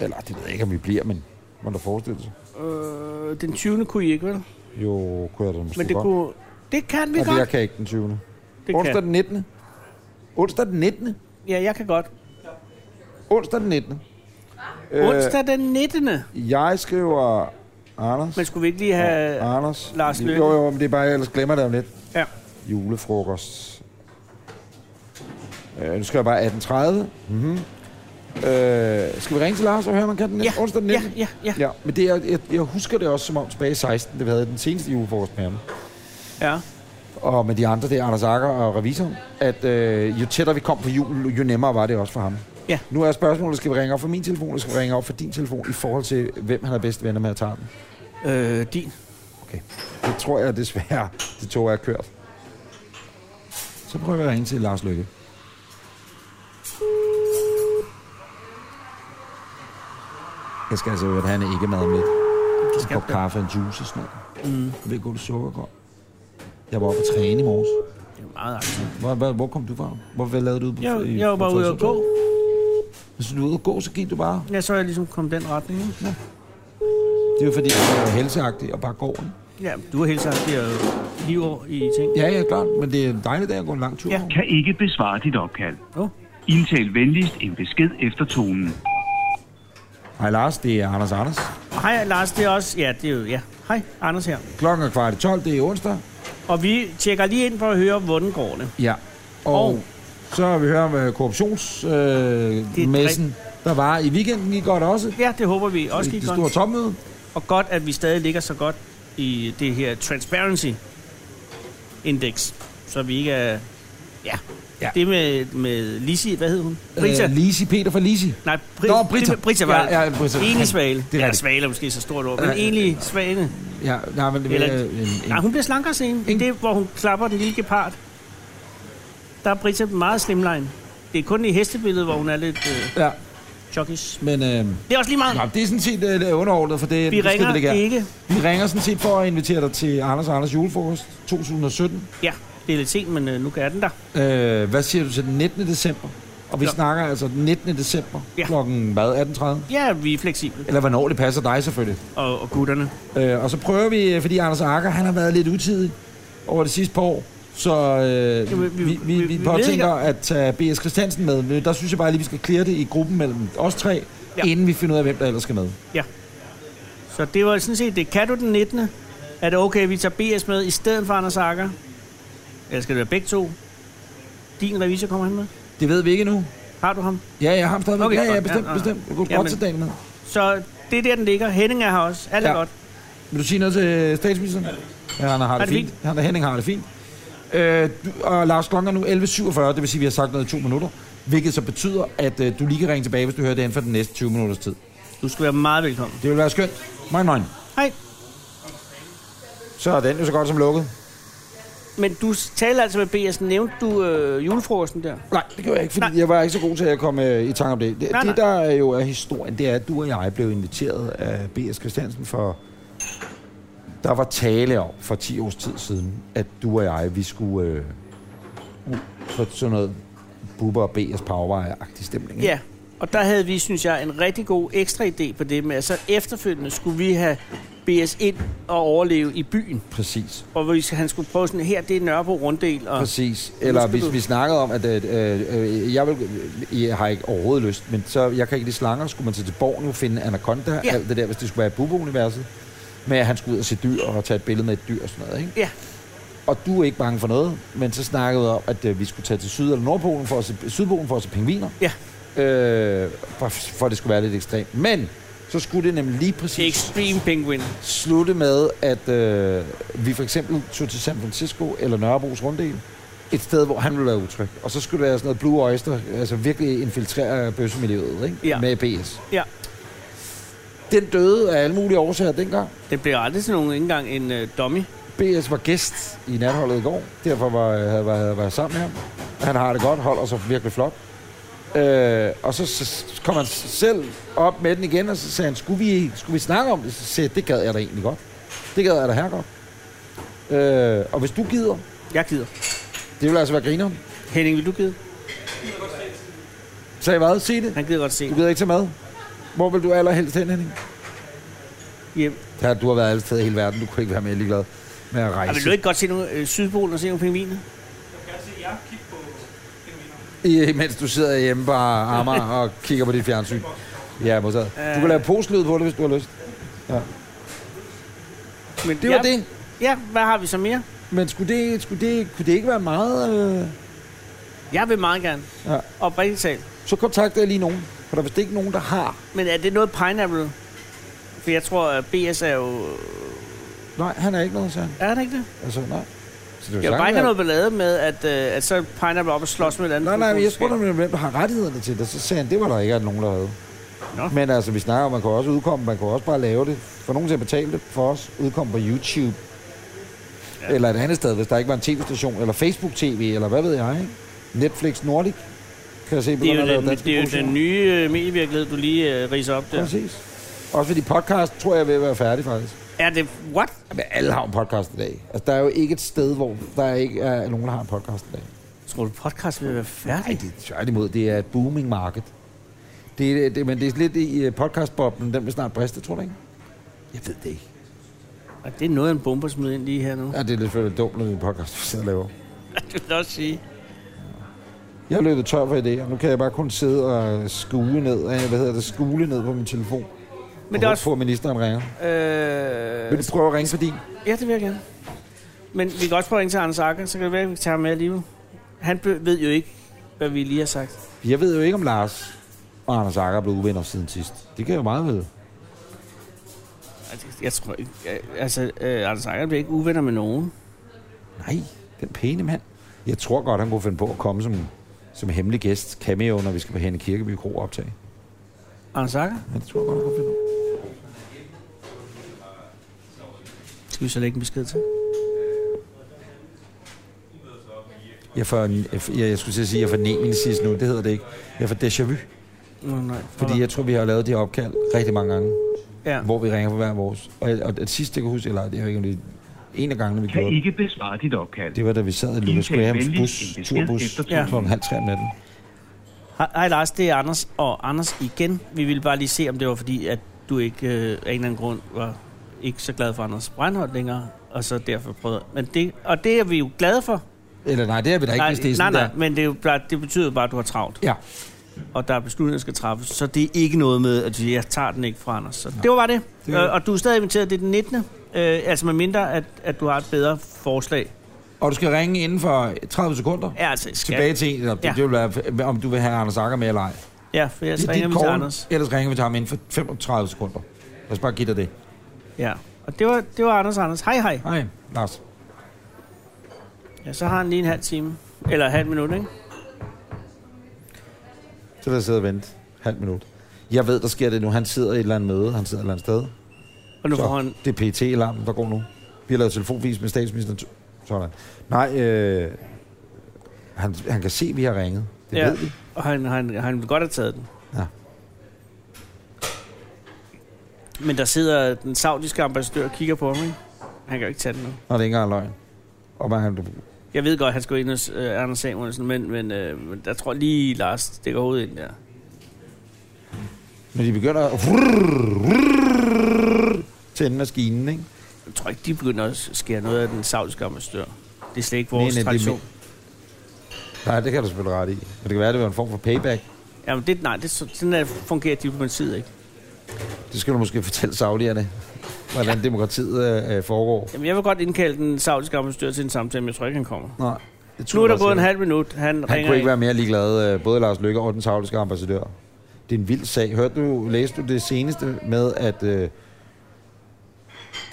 Speaker 1: Eller det ved jeg ikke, om vi bliver, men man der forestille sig.
Speaker 2: Øh, den 20. kunne I ikke, vel?
Speaker 1: Jo, kunne jeg da måske
Speaker 2: Men det
Speaker 1: godt.
Speaker 2: kunne... Det kan vi
Speaker 1: Ja, det, jeg
Speaker 2: godt.
Speaker 1: kan ikke den 20.
Speaker 2: Det
Speaker 1: Onsdag
Speaker 2: kan.
Speaker 1: den 19. Onsdag den 19.
Speaker 2: Ja, jeg kan godt.
Speaker 1: Onsdag den 19. Øh,
Speaker 2: Onsdag den 19.
Speaker 1: Jeg skriver Anders.
Speaker 2: Men skulle vi ikke lige have...
Speaker 1: Anders.
Speaker 2: Lars Løkke.
Speaker 1: Jo, jo, men det er bare, jeg ellers glemmer det om lidt.
Speaker 2: Ja.
Speaker 1: julefrokost. Øh, nu skal jeg bare 18.30. Mm-hmm. Øh, skal vi ringe til Lars og høre, om man kan den
Speaker 2: Ja,
Speaker 1: onsdag den
Speaker 2: ja,
Speaker 1: 19?
Speaker 2: ja, ja.
Speaker 1: ja. men det er, jeg, jeg husker det også som om tilbage i 16, det vi havde den seneste julefrokost med ham.
Speaker 2: ja.
Speaker 1: Og med de andre, det er Anders Akker og revisoren, at øh, jo tættere vi kom på jul, jo nemmere var det også for ham.
Speaker 2: Ja.
Speaker 1: Nu er spørgsmålet, skal vi ringe op for min telefon, eller skal vi ringe op for din telefon, i forhold til, hvem han er bedst venner med at tage den?
Speaker 2: Øh, din.
Speaker 1: Okay. Det tror jeg desværre, det tog jeg kørt. Så prøver jeg at ringe til Lars Lykke. Jeg skal altså høre, at han er ikke mad med. Det skal
Speaker 2: skal
Speaker 1: en kop
Speaker 2: du.
Speaker 1: kaffe og en juice og sådan noget. Mm. Jeg ved godt, du sukker godt. Jeg var oppe at træne i morges.
Speaker 2: Det er meget aktivt.
Speaker 1: Hvor, hvor, hvor kom du fra? Hvor, hvad lavede du ude på
Speaker 2: Jeg, jeg var bare ude og gå.
Speaker 1: Hvis du var ude at gå, så gik du bare.
Speaker 2: Ja, så er jeg ligesom kommet den retning. ikke?
Speaker 1: Det er jo fordi, jeg er helseagtig og bare går. ikke?
Speaker 2: Ja, du har helt sagt, det er jo livår i ting.
Speaker 1: Ja, ja, klart. Men det er en dejlig dag at gå en lang tur.
Speaker 2: Ja.
Speaker 7: kan ikke besvare dit opkald.
Speaker 2: Åh.
Speaker 7: Indtal venligst en besked efter tonen.
Speaker 1: Hej Lars, det er Anders Anders.
Speaker 2: Hej Lars, det er også... Ja, det er jo... Ja. Hej, Anders her.
Speaker 1: Klokken er kvart i 12, det er onsdag.
Speaker 2: Og vi tjekker lige ind for at høre, hvordan går det.
Speaker 1: Ja. Og, og
Speaker 2: Og-
Speaker 1: så har vi hørt om øh, korruptionsmessen, øh, messen, der var i weekenden i godt også.
Speaker 2: Ja, det håber vi også
Speaker 1: det
Speaker 2: gik
Speaker 1: store
Speaker 2: godt.
Speaker 1: topmøde.
Speaker 2: Og godt, at vi stadig ligger så godt i det her Transparency Index. Så vi ikke er... Ja.
Speaker 1: Ja.
Speaker 2: ja. Det med, med Lisi, hvad hed hun? Brita.
Speaker 1: Brita. Øh, Lisi, Peter fra Lisi.
Speaker 2: Nej, Bri-
Speaker 1: Nå, Britta.
Speaker 2: Det, Brita var
Speaker 1: Ja, ja, Britta.
Speaker 2: enlig svale.
Speaker 1: Det er
Speaker 2: Det er
Speaker 1: rigtigt.
Speaker 2: svale er måske så stort ord,
Speaker 1: Ja,
Speaker 2: men
Speaker 1: ja, ja.
Speaker 2: enlig svane.
Speaker 1: Ja, nej, men, Eller,
Speaker 2: Eller-
Speaker 1: øh, en, en,
Speaker 2: Nej, hun bliver slankere scenen.
Speaker 1: Ingen-
Speaker 2: Det er, hvor hun klapper den lille gepard. Der er Brita meget slimline. Det er kun i hestebilledet, hvor hun er lidt øh,
Speaker 1: ja,
Speaker 2: chokkish.
Speaker 1: men øh,
Speaker 2: Det er også lige meget.
Speaker 1: nå, det er sådan set øh, underordnet, for det,
Speaker 2: Vi
Speaker 1: det
Speaker 2: ringer
Speaker 1: skal vi lægge her.
Speaker 2: ikke.
Speaker 1: Vi ringer sådan set for at invitere dig til Anders og Anders julefrokost 2017.
Speaker 2: Ja, det er lidt sent, men øh, nu er den der.
Speaker 1: Øh, hvad siger du til den 19. december? Og vi
Speaker 2: Ja.
Speaker 1: snakker altså den 19. december
Speaker 2: Ja.
Speaker 1: klokken hvad, 18.30?
Speaker 2: Ja, vi er fleksible.
Speaker 1: Eller hvornår det passer dig selvfølgelig.
Speaker 2: Og, og gutterne.
Speaker 1: Øh, og så prøver vi, øh, fordi Anders Akker, han har været lidt utidig over det sidste par år, så øh,
Speaker 2: Jamen,
Speaker 1: vi,
Speaker 2: vi-
Speaker 1: vi, vi,
Speaker 2: vi-
Speaker 1: vi
Speaker 2: vi
Speaker 1: påtænker
Speaker 2: ved
Speaker 1: at tage B.S. Christiansen med. Men Der synes jeg bare lige, vi skal klare det i gruppen mellem os tre, ja.
Speaker 2: Ja.
Speaker 1: inden vi finder ud af, hvem der ellers skal med.
Speaker 2: Så det var sådan set det. Kan du den 19. Er det okay, at vi tager BS med i stedet for Anders Akker? Eller skal det være begge to? Din revisor kommer han med.
Speaker 1: Det ved vi ikke endnu.
Speaker 2: Har du ham?
Speaker 1: Ja, jeg har ham stadigvæk.
Speaker 2: Okay,
Speaker 1: Okay, ja, ja,
Speaker 2: godt.
Speaker 1: bestemt,
Speaker 2: Ja, ja, ja.
Speaker 1: bestemt. Jeg kunne
Speaker 2: Jamen.
Speaker 1: godt tage dagen med.
Speaker 2: Så det er der, den ligger. Henning er her også. Alt er
Speaker 1: Ja.
Speaker 2: godt.
Speaker 1: Vil du sige noget til statsministeren? Ja, han har det, fint. Han er Henning har det fint. Øh, du- og Lars Klokken er nu 11.47, det vil sige, at vi har sagt noget i to minutter. Hvilket så betyder, at øh, du lige kan ringe tilbage, hvis du hører det inden for den næste 20 minutters tid.
Speaker 2: Du skal være meget velkommen.
Speaker 1: Det vil være skønt. Moin, moin.
Speaker 2: Hej.
Speaker 1: Så er den jo så godt som lukket.
Speaker 2: Men du s- taler altså med BS. Nævnte du øh, julefrokosten der?
Speaker 1: Nej, det gjorde jeg ikke, fordi
Speaker 2: Nej.
Speaker 1: jeg var ikke så god til at komme øh, i tanke om det. Det,
Speaker 2: Nej,
Speaker 1: nej, det
Speaker 2: nej.
Speaker 1: der er jo er historien, det er, at du og jeg blev inviteret af B.S. Christiansen for... Der var tale om for 10 års tid siden, at du og jeg, vi skulle øh, ud for sådan noget Bubber og B.S. Powerwire-agtig stemning. ikke?
Speaker 2: Ja. Og der havde vi, synes jeg, en rigtig god ekstra idé på det med, at så efterfølgende skulle vi have BS ind og overleve i byen.
Speaker 1: Præcis,
Speaker 2: Og hvis han skulle prøve sådan, her det er Nørrebro Runddel. Og,
Speaker 1: præcis. Eller
Speaker 2: skal
Speaker 1: hvis
Speaker 2: du-
Speaker 1: vi snakkede om, at øh, øh, jeg, vil, jeg har ikke overhovedet lyst, men så, jeg kan ikke lide slanger, skulle man til til Borgen jo finde Anaconda,
Speaker 2: Ja.
Speaker 1: ja. alt det der, hvis det skulle være i Bubber-universet. Med at han skulle ud og se dyr og tage et billede med et dyr og sådan noget, ikke?
Speaker 2: ja,
Speaker 1: Og du er ikke bange for noget, men så snakkede vi om, at øh, vi skulle tage til Syd- eller Nordpolen for at se, Sydpolen for at se pingviner.
Speaker 2: ja.
Speaker 1: Øh, for, for det skulle være lidt ekstremt. Men så skulle det nemlig lige
Speaker 2: Det er
Speaker 1: præcis
Speaker 2: Extreme Penguin.
Speaker 1: slutte med, at øh, vi for eksempel tog til San Francisco eller Nørrebros runddel. Et sted, hvor han ville være utryg. Og så skulle det være sådan noget Blue Oyster, altså virkelig infiltrere bøssemiljøet ikke?
Speaker 2: Ja.
Speaker 1: med BS.
Speaker 2: Ja.
Speaker 1: Den døde af alle mulige årsager dengang.
Speaker 2: Det bliver aldrig sådan nogen, ikke engang en øh, dummy.
Speaker 1: BS var gæst i natholdet i går, derfor var jeg var, var, var sammen med ham. Han har det godt, holder sig virkelig flot. Øh, og så, så, så kom han selv op med den igen, og så sagde han, skulle vi, skulle vi snakke om det? Så sagde jeg, det gad jeg da egentlig godt. Det gad jeg da her godt. Øh, og hvis du gider,
Speaker 2: Jeg gider.
Speaker 1: det vil altså være grineren.
Speaker 2: Henning, vil du gide?
Speaker 1: Sagde jeg hvad? Sig det.
Speaker 2: Han gider godt se.
Speaker 1: Du gider ikke tage med. Hvor vil du allerhelst hen, Henning?
Speaker 2: Hjem.
Speaker 1: Ja, du har været alle steder i hele verden. Du kunne ikke være mere ligeglad med at
Speaker 2: Ej,
Speaker 1: rejse.
Speaker 2: vil du ikke godt se nogle øh, Sydpolen og se nogle pingviner?
Speaker 3: Jeg kan se, jeg kigger på pingviner.
Speaker 1: I, mens du sidder hjemme på Amager og kigger på dit fjernsyn. Ja, modtaget. Du kan lave postlyd på det, hvis du har lyst.
Speaker 2: Men
Speaker 1: Det var
Speaker 2: ja,
Speaker 1: det.
Speaker 2: Ja, hvad har vi så mere?
Speaker 1: Men skulle det, skulle det, kunne det ikke være meget... Øh...
Speaker 2: Jeg vil meget gerne.
Speaker 1: Ja.
Speaker 2: Oprigtigt talt.
Speaker 1: Så kontakter jeg lige nogen. For der er vist ikke nogen, der har...
Speaker 2: Men er det noget pineapple? For jeg tror, at BS er jo...
Speaker 1: Nej, han er ikke noget, sagde han.
Speaker 2: Er det ikke det?
Speaker 1: Altså, nej. Så det er jo
Speaker 2: Jeg
Speaker 1: sagtens
Speaker 2: vil bare ikke have
Speaker 1: være-
Speaker 2: noget ballade med, at, øh, at så pineapple op og slås med et andet.
Speaker 1: Nej, nej, men jeg
Speaker 2: fodboldskab.
Speaker 1: spurgte ham, hvem der har rettighederne til det. Så sagde han, det var der ikke at nogen, der havde.
Speaker 2: Nå.
Speaker 1: Men altså, vi snakker om, man kan også udkomme, man kan også bare lave det. For nogen til at betale det for os, udkomme på YouTube. Ja. Eller et andet sted, hvis der ikke var en tv-station, eller Facebook-tv, eller hvad ved jeg, ikke? Netflix Nordic, kan jeg se,
Speaker 2: Det er,
Speaker 1: begynder
Speaker 2: jo
Speaker 1: at lave
Speaker 2: den,
Speaker 1: danske
Speaker 2: det er jo den nye øh, medievirkelighed, du lige øh, riser op der.
Speaker 1: Præcis. Også fordi podcast, tror jeg, er ved at være færdig, faktisk.
Speaker 2: Er det... What?
Speaker 1: Men alle har en podcast i dag. Altså, der er jo ikke et sted, hvor der ikke er nogen, der har en podcast i dag.
Speaker 2: Tror du, podcast vil være
Speaker 1: Nej,
Speaker 2: færdig?
Speaker 1: det er tværtimod. Det er et booming market. Det er, det, men det er lidt i øh, podcastboblen. Den vil snart briste, tror du ikke? Jeg ved det ikke.
Speaker 2: Ej, det er noget af en bombe at smide ind lige her nu.
Speaker 1: Ja, det er lidt for dumt, når det er en podcast, vi sidder og laver.
Speaker 2: Det vil jeg også sige.
Speaker 1: Jeg er løbet tør for idéer. Nu kan jeg bare kun sidde og skue ned, øh, hvad hedder det, skule ned på min telefon.
Speaker 2: Men det er også...
Speaker 1: på, at ministeren ringer.
Speaker 2: Øh,
Speaker 1: Vil du prøve at ringe for din?
Speaker 2: ja, det vil jeg gerne. Men vi kan også prøve at ringe til Anders Akker, så kan det være, at vi tager ham med alligevel. Han be- ved jo ikke, hvad vi lige har sagt.
Speaker 1: Jeg ved jo ikke, om Lars og Anders Akker er blevet uvenner siden sidst. Det kan jeg jo meget vide.
Speaker 2: Altså, Jeg tror ikke... jeg- Altså, øh, Anders Akker bliver ikke uvenner med nogen.
Speaker 1: Nej, den pæne mand. Jeg tror godt, han kunne finde på at komme som, som hemmelig gæst cameo, når vi skal på Henne Kirkeby Kro optage.
Speaker 2: Anders Akker?
Speaker 1: Ja, det tror jeg godt, han kunne finde på.
Speaker 2: Skal vi så lægge en besked til?
Speaker 1: Jeg får en, jeg, jeg skulle til at sige, jeg får nemesis nu, det hedder det ikke. Jeg får déjà vu,
Speaker 2: Nå, nej.
Speaker 1: fordi jeg tror, vi har lavet det opkald rigtig mange gange,
Speaker 2: Ja.
Speaker 1: hvor vi ringer på hver vores. Og, og det sidste, jeg kan huske, eller det er jo ikke om det er en af gangene, vi
Speaker 7: Kan
Speaker 1: gjorde det,
Speaker 7: ikke besvare dit opkald.
Speaker 1: det var da vi sad i Lucas
Speaker 7: Indtale
Speaker 1: Grahams
Speaker 7: venligst
Speaker 1: bus,
Speaker 7: en besked
Speaker 1: turbus,
Speaker 7: efter
Speaker 1: ja.
Speaker 2: tonen.
Speaker 1: klokken halv tre om natten.
Speaker 2: Hej, hej Lars, det er Anders og Anders igen. Vi ville bare lige se, om det var fordi, at du ikke øh, af en eller anden grund var ikke så glad for Anders Breinholt længere, og så derfor prøvede. Men det, og det er vi jo glade for.
Speaker 1: Eller nej, det er vi da ikke, hvis det er
Speaker 2: nej,
Speaker 1: sådan
Speaker 2: nej,
Speaker 1: der.
Speaker 2: men det, er jo, bare- det betyder jo bare, at du har travlt,
Speaker 1: Ja,
Speaker 2: og der er beslutninger, der skal træffes. Så det er ikke noget med, at jeg tager den ikke fra Anders. Så det var bare det.
Speaker 1: Det
Speaker 2: det
Speaker 1: var det.
Speaker 2: øh, og du er stadig inviteret, det er den 19. Øh, altså med mindre, at, at du har et bedre forslag.
Speaker 1: og du skal ringe inden for 30 sekunder.
Speaker 2: Ja, altså, skal,
Speaker 1: Tilbage til en, eller det,
Speaker 2: Ja.
Speaker 1: det vil være, om du vil have Anders Akker med eller ej.
Speaker 2: Ja, for jeg
Speaker 1: Det er
Speaker 2: ringer
Speaker 1: dit
Speaker 2: vi til
Speaker 1: call.
Speaker 2: Anders.
Speaker 1: Ellers ringer vi til ham inden for 35 sekunder. Lad os bare give dig det.
Speaker 2: Ja. Og det var, det var Anders Anders. Hej, hej.
Speaker 1: Hej, Lars.
Speaker 2: Ja, så har han lige en halv time. Eller halv minut, ikke?
Speaker 1: Så lad os sidde og vente. Halv minut. Jeg ved, der sker det nu. Han sidder i et eller andet møde. Han sidder et eller andet sted.
Speaker 2: Og nu
Speaker 1: Så.
Speaker 2: får han...
Speaker 1: Det er pt alarmen der går nu. Vi har lavet telefonvis med statsministeren. Sådan. Nej, øh, han, han kan se, at vi har ringet. Det ja.
Speaker 2: ja,
Speaker 1: ved vi.
Speaker 2: og han, han, han ville godt have taget den.
Speaker 1: Ja.
Speaker 2: Men der sidder den saudiske ambassadør og kigger på ham, ikke? Han kan jo ikke tage den nu.
Speaker 1: Når det ikke engang er løgn. Og man, han,
Speaker 2: Jeg ved godt, han skulle ind hos øh, Anders Samuelsen, men, men øh, men der tror lige, Lars stikker hovedet ind der.
Speaker 1: når de begynder at vrrr, vrrr, tænde maskinen, ikke?
Speaker 2: Jeg tror ikke, de begynder at skære noget af den saudiske ambassadør. Det er slet ikke vores
Speaker 1: Nej, nej, det
Speaker 2: nej,
Speaker 1: er
Speaker 2: tradition.
Speaker 1: Nej, det kan du selvfølgelig ret i. Men det kan være, det var en form for payback.
Speaker 2: Jamen, det, nej, det, er så- sådan der fungerer diplomatiet ikke.
Speaker 1: Det skal du måske fortælle saudierne, hvordan ja. demokratiet øh, foregår.
Speaker 2: Jamen, jeg vil godt indkalde den saudiske ambassadør til en samtale, men jeg tror ikke, han kommer.
Speaker 1: Nej, det tror
Speaker 2: Nu er
Speaker 1: jeg
Speaker 2: der
Speaker 1: også,
Speaker 2: gået en
Speaker 1: jeg-
Speaker 2: halv minut. Han,
Speaker 1: Han
Speaker 2: ringer
Speaker 1: kunne ikke
Speaker 2: ind.
Speaker 1: være mere ligeglad, øh, både Lars Løkke og den saudiske ambassadør. Det er en vild sag. Hørte du, læste du det seneste med, at øh,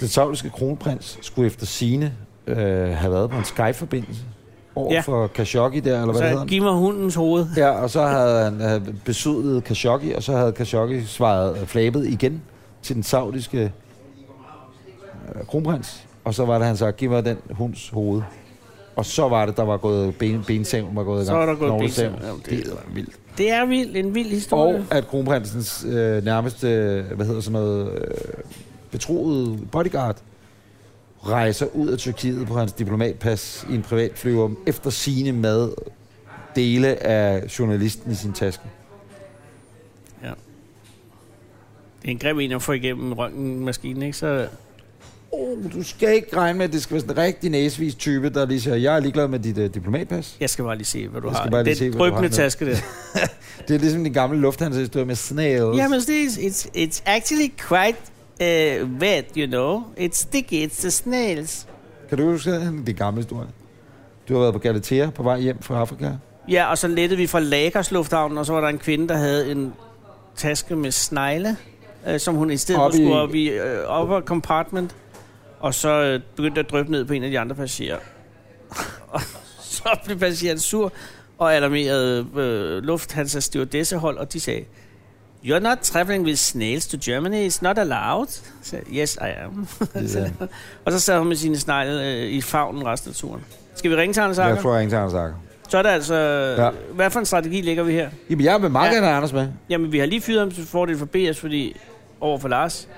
Speaker 1: den saudiske kronprins skulle efter sine øh, have været på en Skype-forbindelse over
Speaker 2: Ja.
Speaker 1: ja. for Khashoggi der, eller hvad det hedder
Speaker 2: Så
Speaker 1: han?
Speaker 2: giv mig hundens hoved.
Speaker 1: Ja, og så havde han øh, besøget Khashoggi, og så havde Khashoggi svaret øh, flabet igen til den saudiske øh, kronprins. Og så var det, han sagde, giv mig den hunds hoved. Og så var det, der var gået ben, bensaven, var gået i
Speaker 2: Så
Speaker 1: gang.
Speaker 2: er der gået
Speaker 1: Knoglesavn.
Speaker 2: bensaven. Jamen, det-
Speaker 1: Det er vildt.
Speaker 2: Det er vildt, en vild historie.
Speaker 1: Og at kronprinsens øh, nærmeste, øh, hvad hedder sådan noget, øh, betroede bodyguard, rejser ud af Tyrkiet på hans diplomatpas i en privat flyver efter sine med dele af journalisten i sin taske.
Speaker 2: Det er en grim en at få igennem røntgenmaskinen, ikke? Så
Speaker 1: Oh, du skal ikke regne med, at det skal være sådan en rigtig næsvis type, der lige siger, jeg er ligeglad med dit uh, diplomatpas.
Speaker 2: jeg skal bare lige se, hvad du
Speaker 1: Jeg
Speaker 2: har.
Speaker 1: skal bare lige
Speaker 2: den
Speaker 1: se, hvad du
Speaker 2: drøbende
Speaker 1: har med.
Speaker 2: taske der.
Speaker 1: Det er ligesom den gamle lufthansa-historie med snails.
Speaker 2: Jamen, det er, it's, it's actually quite uh, wet, you know. It's sticky, it's the snails.
Speaker 1: Kan du huske den? Det er en gammel historie. Du har været på Galatea på vej hjem fra Afrika.
Speaker 2: Ja, og så lettede vi fra Lagers Lufthavn, og så var der en kvinde, der havde en taske med snegle, øh, som hun i stedet
Speaker 1: Op
Speaker 2: op
Speaker 1: i-
Speaker 2: skulle op i øh, upper compartment, og så øh, begyndte at drøbe ned på en af de andre passagerer. og så blev passageren sur og alarmerede øh, Lufthansa stewardessehold, og de sagde, You're not traveling with snails to Germany. It's not allowed. Så, jeg, yes, I am.
Speaker 1: Ja.
Speaker 2: og så sad hun med sine snegle øh, i favnen resten af turen. Skal vi ringe til Anders Anker?
Speaker 1: Jeg tror, jeg ikke tager en sakker.
Speaker 2: Så er der altså... Ja.
Speaker 1: Ja.
Speaker 2: Hvad for en strategi ligger vi her?
Speaker 1: Jamen, jeg vil meget
Speaker 2: Ja.
Speaker 1: gerne have Anders med.
Speaker 2: Jamen, vi har lige fyret ham til fordel for BS, fordi over for Lars.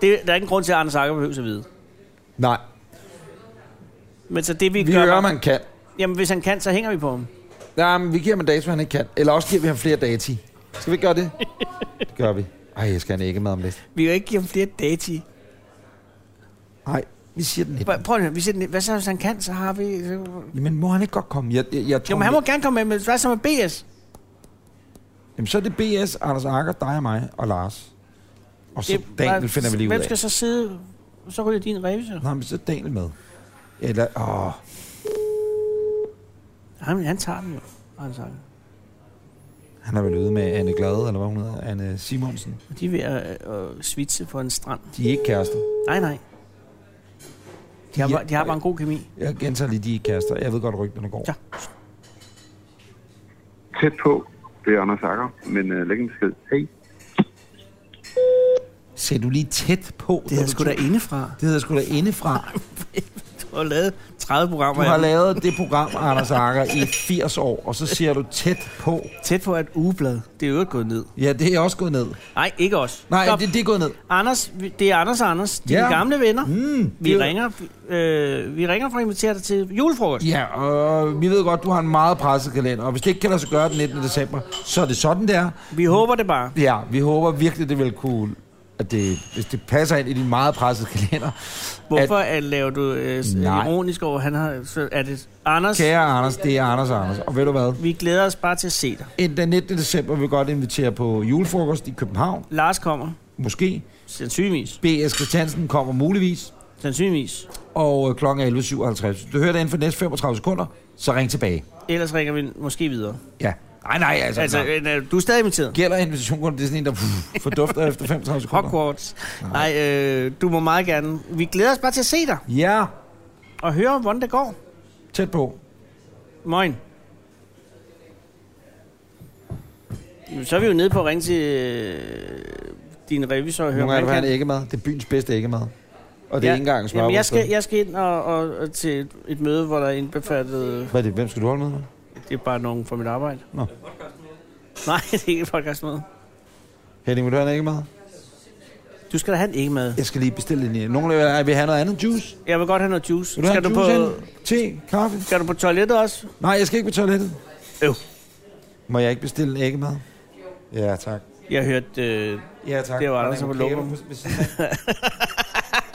Speaker 2: Det, der er ingen grund til, at Anders Akker behøver at vide.
Speaker 1: Nej,
Speaker 2: Men så det, vi,
Speaker 1: vi
Speaker 2: gør...
Speaker 1: hører, man kan.
Speaker 2: Jamen, hvis han kan, så hænger vi på ham.
Speaker 1: Nej, men vi giver ham en dato, han ikke kan. Eller også giver vi ham flere dati. Skal vi ikke gøre det? Det gør vi. Ej, jeg skal have en æggemad om lidt.
Speaker 2: Vi kan jo ikke give ham flere dati.
Speaker 1: Nej, vi siger den ikke.
Speaker 2: Prøv, prøv at høre, vi siger, den- hvad så, hvis han kan, så har vi... Så...
Speaker 1: Men må han ikke godt komme? Jeg, jeg, jeg tror,
Speaker 2: Jo, men han må gerne komme med, men hvad så med BS?
Speaker 1: Jamen, så er det BS, Anders Akker, dig og mig og Lars. Og så
Speaker 2: Det-
Speaker 1: Daniel
Speaker 2: hvad-
Speaker 1: finder vi lige ud
Speaker 2: Hvem
Speaker 1: af.
Speaker 2: skal så sidde... Så ryger din revisor.
Speaker 1: Nej, men så er Daniel med. Eller, åh,
Speaker 2: Han, han tager den jo, altså. Anders Akker.
Speaker 1: han er vel ude med Anne Glade, eller hvad hun hedder, Anne Simonsen.
Speaker 2: Og De er ved at, øh, at svitse på en strand.
Speaker 1: De er ikke kærester.
Speaker 2: Nej, nej. De har,
Speaker 1: Ja.
Speaker 2: bare, de har bare en god kemi.
Speaker 1: Jeg gentager lige, de er ikke kærester. Jeg ved godt, at rygterne går.
Speaker 2: Ja.
Speaker 8: Tæt på, det er Anders Akker, men uh, læg en besked. Hej.
Speaker 1: Ser du lige tæt på?
Speaker 2: Det
Speaker 1: da
Speaker 2: er
Speaker 1: du
Speaker 2: sgu da
Speaker 1: tog-
Speaker 2: indefra.
Speaker 1: Det hedder sgu da indefra.
Speaker 2: Du har lavet 30 programmer.
Speaker 1: Du har
Speaker 2: af dem.
Speaker 1: lavet det program, Anders Akker, i 80 år, og så ser du tæt på.
Speaker 2: Tæt på et ugeblad. Det er jo ikke gået ned.
Speaker 1: Ja, det er også gået ned.
Speaker 2: Nej, ikke os.
Speaker 1: Nej,
Speaker 2: Stop.
Speaker 1: det, det er gået ned.
Speaker 2: Anders, vi- det er Anders og Anders. Dine
Speaker 1: Ja.
Speaker 2: gamle venner.
Speaker 1: Mm,
Speaker 2: Vi
Speaker 1: det-
Speaker 2: ringer, øh, vi ringer for at invitere dig til julefrokost.
Speaker 1: Ja, og vi ved godt, du har en meget presset kalender, og hvis det ikke kan lade sig gøre den 19. december, så er det sådan, der.
Speaker 2: Vi håber det bare.
Speaker 1: Ja, vi håber virkelig, det vil kunne, at det, hvis det passer ind i din meget pressede kalender.
Speaker 2: Hvorfor at, laver du øh, s-
Speaker 1: Nej.
Speaker 2: ironisk over, han har... Så er det Anders,
Speaker 1: At, kære Anders, det er Anders og Anders, og ved du hvad?
Speaker 2: vi glæder os bare til at se dig.
Speaker 1: Ind Den 19. december vil vi godt invitere på julefrokost i København,
Speaker 2: Lars kommer.
Speaker 1: måske.
Speaker 2: Sandsynligvis.
Speaker 1: B.S. Christiansen kommer muligvis,
Speaker 2: Sandsynligvis.
Speaker 1: og øh, klokken er 11.57. Du hører det inden for næste 35 sekunder, så ring tilbage.
Speaker 2: Ellers ringer vi måske videre.
Speaker 1: Ja. Nej, nej, altså.
Speaker 2: Altså,
Speaker 1: altså
Speaker 2: øh, du er stadig inviteret.
Speaker 1: gælder invitationen kun, det er sådan en, der pff, fordufter efter 35 sekunder.
Speaker 2: Hogwarts. Nej, øh, du må meget gerne. Vi glæder os bare til at se dig
Speaker 1: Ja,
Speaker 2: og høre, hvordan det går.
Speaker 1: tæt på.
Speaker 2: Moin. Jamen, Så er vi jo nede på at ringe til øh, din revisor og høre,
Speaker 1: Nogle af
Speaker 2: om
Speaker 1: dem har
Speaker 2: han
Speaker 1: en
Speaker 2: kan...
Speaker 1: æggemad. Det er byens bedste æggemad. Og det er ikke engang smør.
Speaker 2: Jamen, jeg skal, jeg skal ind og, og, og til et, et møde, hvor der er indbefattet...
Speaker 1: Hvad er det? Hvem skal du holde med?
Speaker 2: Det er bare nogen fra mit arbejde.
Speaker 1: Nå.
Speaker 2: Nej, det er ikke et podcastmøde.
Speaker 1: Henning, vil du have en æggemad?
Speaker 2: Du skal da have en ikke med.
Speaker 1: Jeg skal lige bestille en. æg- Nogle af jer vil have noget andet juice.
Speaker 2: Jeg vil godt have noget juice.
Speaker 1: Vil du
Speaker 2: skal,
Speaker 1: have
Speaker 2: du
Speaker 1: en
Speaker 2: på,
Speaker 1: juice, Henning? Te? Kaffe?
Speaker 2: skal du på toilettet også?
Speaker 1: Nej, jeg skal ikke på toilettet.
Speaker 2: Øv.
Speaker 1: Må jeg ikke bestille en æggemad? Ja, tak.
Speaker 2: Jeg hørte... Øh,
Speaker 1: Ja, tak.
Speaker 2: Det var Anders,
Speaker 1: Hvordan
Speaker 2: der var
Speaker 1: klæder
Speaker 2: lokum.
Speaker 1: du ved siden af?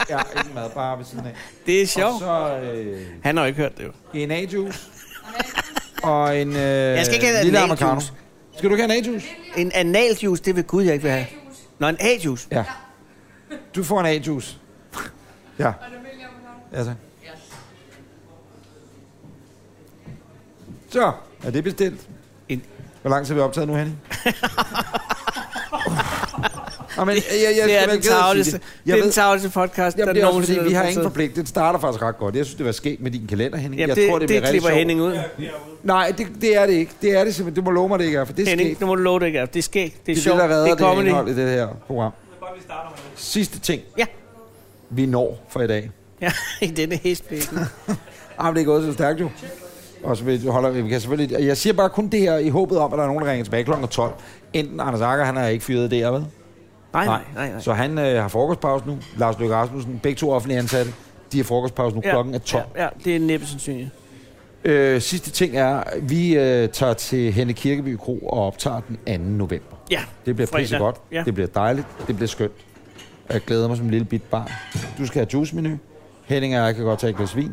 Speaker 1: Ja, ikke mad, bare ved siden af.
Speaker 2: det er
Speaker 1: Og
Speaker 2: sjovt.
Speaker 1: så øh,
Speaker 2: Han har jo ikke hørt det jo.
Speaker 1: en A-juice. og en øh, jeg
Speaker 2: skal ikke have en
Speaker 1: lille
Speaker 2: A-juice.
Speaker 1: americano. Skal du ikke have en A-juice?
Speaker 2: En analjuice, det vil Gud, jeg ikke vil have. Nå, en A-juice.
Speaker 1: Ja. Du får en A-juice. ja. Og en Ja, tak. Så, er det bestilt?
Speaker 2: En-
Speaker 1: Hvor lang tid har vi optaget nu, Henning? Nå, men, jeg, jeg, jeg,
Speaker 2: Det
Speaker 1: jeg ved
Speaker 2: er den
Speaker 1: ikke, hvad jeg skal
Speaker 2: tavleste,
Speaker 1: sige. Jeg
Speaker 2: det er
Speaker 1: ved-
Speaker 2: den tavleste podcast,
Speaker 1: Jamen,
Speaker 2: der
Speaker 1: det er også,
Speaker 2: nogensinde
Speaker 1: fordi vi har
Speaker 2: blevet
Speaker 1: ingen
Speaker 2: produceret.
Speaker 1: forpligtelse. Det starter faktisk ret godt. Jeg synes, det var sket med din kalender, Henning.
Speaker 2: Jamen,
Speaker 1: jeg
Speaker 2: det,
Speaker 1: tror, det,
Speaker 2: det,
Speaker 1: bliver
Speaker 2: klipper
Speaker 1: rigtig
Speaker 2: Henning ud.
Speaker 1: Nej, det, det, er det ikke. Det er det simpelthen. Du må love mig, det ikke er, for det er
Speaker 2: Henning,
Speaker 1: sket.
Speaker 2: nu må du love det ikke. altså. Det er skægt. Det
Speaker 1: Det
Speaker 2: er
Speaker 1: er det,
Speaker 2: sjovt.
Speaker 1: der redder
Speaker 2: Det
Speaker 1: det,
Speaker 2: er comedy.
Speaker 1: indhold i det her program.
Speaker 3: Bare vi starter med det.
Speaker 1: Sidste ting,
Speaker 2: Ja.
Speaker 1: vi når for i dag.
Speaker 2: Ja, i denne hestbækken.
Speaker 1: Ah, men det er gået så stærkt jo. Og så vi holder vi, vi kan selvfølgelig... Jeg siger bare kun det her i håbet om, at der er nogen, der ringer tilbage kl. 12. Enten Anders Akker, han er ikke fyret der, vel?
Speaker 2: Nej, nej, nej. nej.
Speaker 1: Så han øh, har frokostpause nu. Lars Løkke Rasmussen, begge to offentlige ansatte, de har frokostpause nu. Ja. Klokken er 12.
Speaker 2: Ja, ja, det er næppe sandsynligt.
Speaker 1: Øh, sidste ting er, vi øh, tager til Henne Kirkeby Kro og optager den 2. november.
Speaker 2: Ja,
Speaker 1: Det bliver
Speaker 2: fredag.
Speaker 1: pisse godt.
Speaker 2: Ja.
Speaker 1: Det bliver dejligt. Det bliver skønt. Og Jeg glæder mig som en lille bit barn. Du skal have juicemenu. Henning og jeg kan godt tage et glas vin.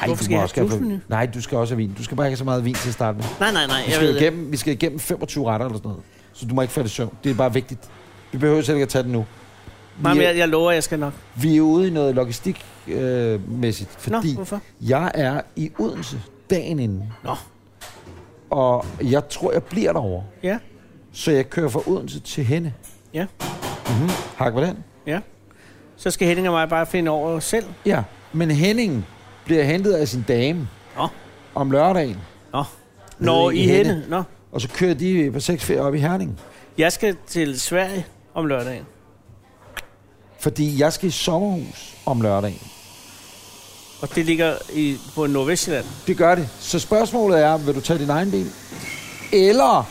Speaker 1: Ej,
Speaker 2: Hvorfor
Speaker 1: du
Speaker 2: skal
Speaker 1: må
Speaker 2: jeg
Speaker 1: også
Speaker 2: have
Speaker 1: gerne få-
Speaker 2: juicemenu?
Speaker 1: Nej, du skal også have vin. Du skal bare ikke have så meget vin til at starte med.
Speaker 2: Nej, nej, nej,
Speaker 1: Vi
Speaker 2: jeg
Speaker 1: skal,
Speaker 2: ved det.
Speaker 1: igennem, vi skal igennem 25 retter eller sådan noget. Så du må ikke falde i søvn. Det er bare vigtigt. Vi behøver selv ikke at tage det nu.
Speaker 2: Nej,
Speaker 1: Vi
Speaker 2: men
Speaker 1: er-
Speaker 2: jeg, jeg lover, jeg skal nok.
Speaker 1: vi er ude i noget logistikmæssigt, øh, mæssigt,
Speaker 2: Nå,
Speaker 1: fordi
Speaker 2: hvorfor?
Speaker 1: jeg er i Odense dagen inden,
Speaker 2: Nå,
Speaker 1: og jeg tror, jeg bliver derovre.
Speaker 2: ja,
Speaker 1: Så jeg kører fra Odense til Henne. Mhm.
Speaker 2: ja,
Speaker 1: Hak på den?
Speaker 2: ja. Så skal Henning og mig bare finde over selv.
Speaker 1: Ja. Men Henning bliver hentet af sin dame
Speaker 2: Nå,
Speaker 1: om lørdagen,
Speaker 2: nå. Nå,
Speaker 1: i
Speaker 2: i
Speaker 1: Henne.
Speaker 2: hende. Nå.
Speaker 1: og så kører de på sexferie op i Herning.
Speaker 2: Jeg skal til Sverige om lørdagen.
Speaker 1: Fordi jeg skal i sommerhus om lørdagen.
Speaker 2: Og det ligger i, på Nordvestjylland.
Speaker 1: Det gør det. Så spørgsmålet er, vil du tage din egen bil? Eller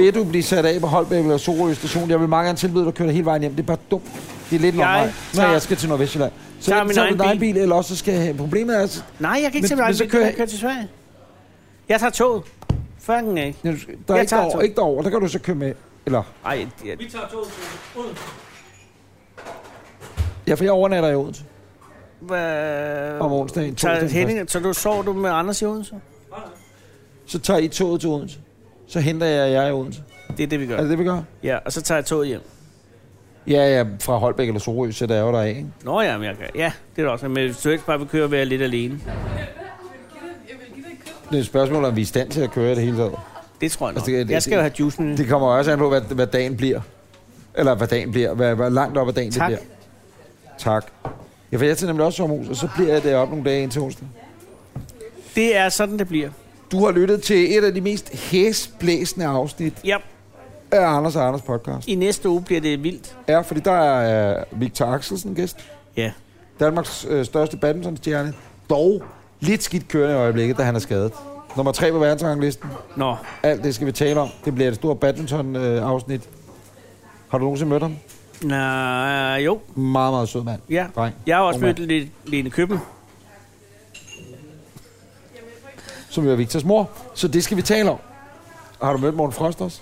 Speaker 1: vil du blive sat af på Holbæk eller Sorø station? Jeg vil meget gerne tilbyde dig at køre dig hele vejen hjem. Det er bare dumt. Det er lidt
Speaker 2: Jeg
Speaker 1: langvej, når
Speaker 2: tager-
Speaker 1: jeg skal til Nordvestjylland. Så
Speaker 2: tager
Speaker 1: enten
Speaker 2: min
Speaker 1: tager du
Speaker 2: egen
Speaker 1: din egen
Speaker 2: bil.
Speaker 1: bil, eller også så skal jeg have... Problemet er, altså,
Speaker 2: Nej, jeg kan
Speaker 1: Men-
Speaker 2: ikke
Speaker 1: men
Speaker 2: men,
Speaker 1: så
Speaker 2: til
Speaker 1: kører-
Speaker 2: kører... kører til Sverige. Jeg tager toget. Fucking ikke.
Speaker 1: der er ikke
Speaker 2: tager
Speaker 1: derover,
Speaker 2: toget.
Speaker 1: ikke derover. Der kan du så køre med. Eller,
Speaker 2: Ej, jeg,
Speaker 3: Vi tager toget til Odense.
Speaker 1: ja, for jeg overnatter i Odense.
Speaker 2: hvad...
Speaker 1: Om onsdagen,
Speaker 2: Tager
Speaker 1: torsdagen
Speaker 2: Henning, så du sov du med Anders i Odense?
Speaker 1: Så tager I toget til Odense. Så henter jeg jer i Odense.
Speaker 2: Det er det, vi
Speaker 1: Er
Speaker 2: gør.
Speaker 1: det det, vi gør?
Speaker 2: Ja, og så tager jeg toget hjem.
Speaker 1: Ja, ja, fra Holbæk eller Sorø sætter jeg jo dig af, ikke?
Speaker 2: Nå ja, men jeg kan. Ja, det er det også. Men hvis du ikke bare vil køre og være lidt alene.
Speaker 1: Det er et spørgsmål, om vi er i stand til at køre det hele taget.
Speaker 2: Det tror jeg nok.
Speaker 1: Altså, det- det-
Speaker 2: jeg skal jo have juicen.
Speaker 1: Det kommer også an på, hvad, hvad dagen bliver. Eller hvad dagen bliver. Hvad, hvad langt op ad dagen
Speaker 2: Tak.
Speaker 1: det bliver. Tak. Ja, for jeg tager nemlig også sommerhus, og så bliver jeg deroppe nogle dage indtil onsdag.
Speaker 2: Det er sådan, det bliver.
Speaker 1: Du har lyttet til et af de mest hæsblæsende afsnit
Speaker 2: Ja,
Speaker 1: af Anders og Anders podcast.
Speaker 2: i næste uge bliver det vildt.
Speaker 1: Ja, fordi der er uh, Victor Axelsen gæst.
Speaker 2: Ja.
Speaker 1: Danmarks øh, største badmintonstjerne. Dog lidt skidt kørende i øjeblikket, da han er skadet. Nummer tre på verdensranglisten.
Speaker 2: Nå,
Speaker 1: Alt det skal vi tale om. Det bliver et stort badminton-afsnit. Har du nogensinde mødt ham?
Speaker 2: Nå øh, jo.
Speaker 1: Meget, meget sød mand.
Speaker 2: Ja.
Speaker 1: Dreng.
Speaker 2: Jeg har også
Speaker 1: Ung mand.
Speaker 2: mødt Le- Lene Køben.
Speaker 1: som jo er Victors mor. Så det skal vi tale om. Og Har du mødt Morten Frost også?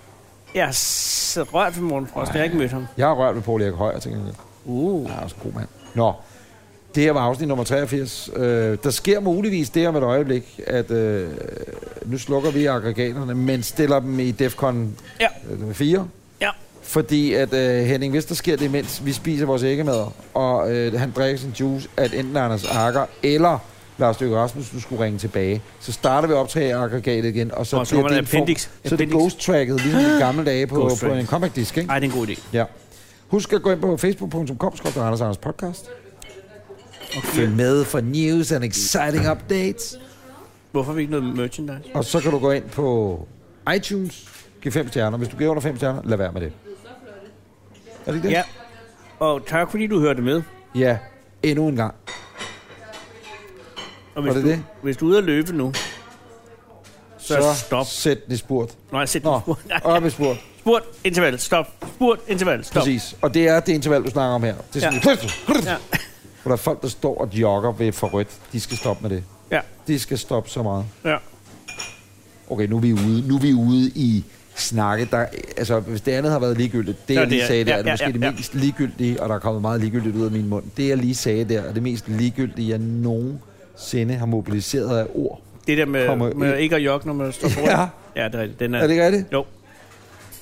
Speaker 2: Jeg er så rørt ved Morten Frost. Jeg har ikke mødt ham.
Speaker 1: Jeg har rørt ved Paul Erik Højer, tænker jeg.
Speaker 2: Uh.
Speaker 1: Han er også en god mand. Nå, det her var afsnit nummer 83. Øh, der sker muligvis det om et øjeblik, at øh, nu slukker vi aggregaterne, men stiller dem i DEFCON
Speaker 2: Ja.
Speaker 1: øh, 4.
Speaker 2: Ja.
Speaker 1: Fordi at øh, Henning, hvis der sker det, mens vi spiser vores æggemad, og øh, han drikker sin juice, at enten Anders Akker eller Lars Løkke Rasmussen skulle ringe tilbage. Så starter vi optageaggregatet igen, og så,
Speaker 2: Og så kommer der
Speaker 1: en form-
Speaker 2: appendix.
Speaker 1: Så er det
Speaker 2: Appendix.
Speaker 1: ghost-tracket lige i gamle dage på,
Speaker 2: Ghost
Speaker 1: på en
Speaker 2: track.
Speaker 1: compact disk, ikke?
Speaker 2: Ej, det er en god idé.
Speaker 1: Ja. Husk at gå ind på facebook.com, skrøster Anders Anders podcast. Og følg med for news and exciting updates.
Speaker 2: Hvorfor har vi ikke noget merchandise?
Speaker 1: Og så kan du gå ind på iTunes, give fem stjerner. Hvis du giver under fem stjerner, lad være med det. Er det ikke det?
Speaker 2: Ja. Og tak, fordi du hørte med.
Speaker 1: Ja, endnu en gang.
Speaker 2: Og
Speaker 1: Var
Speaker 2: hvis,
Speaker 1: det
Speaker 2: du,
Speaker 1: det?
Speaker 2: hvis du er ude at løbe nu, så, så stop.
Speaker 1: sæt den i spurt.
Speaker 2: Nej, sæt
Speaker 1: Nå,
Speaker 2: Nå. spurt.
Speaker 1: op i spurt.
Speaker 2: Spurt, interval, stop. Spurt, interval, stop.
Speaker 1: Præcis. Og det er det interval, du snakker om her. Det er sådan, ja.
Speaker 2: Ja.
Speaker 1: Hvor der er folk, der står og jogger ved for rødt. De skal stoppe med det.
Speaker 2: Ja,
Speaker 1: De skal stoppe så meget.
Speaker 2: ja.
Speaker 1: Okay, nu er vi ude, nu er vi ude i snakke. Der, altså, hvis det andet har været ligegyldigt, det
Speaker 2: Ja,
Speaker 1: jeg
Speaker 2: det
Speaker 1: lige
Speaker 2: er-
Speaker 1: sagde der,
Speaker 2: ja,
Speaker 1: er det
Speaker 2: ja,
Speaker 1: måske
Speaker 2: ja,
Speaker 1: det
Speaker 2: ja.
Speaker 1: mest ligegyldige, og der er kommet meget ligegyldigt ud af min mund. Det jeg lige sagde der, er det mest ligegyldige, jeg nogensinde har mobiliseret af ord.
Speaker 2: Det der
Speaker 1: Kommer
Speaker 2: med, med ikke at jogge, når man står på
Speaker 1: Ja.
Speaker 2: rødt. Ja, det er rigtigt. Den er,
Speaker 1: Er det ikke rigtigt?
Speaker 2: Jo.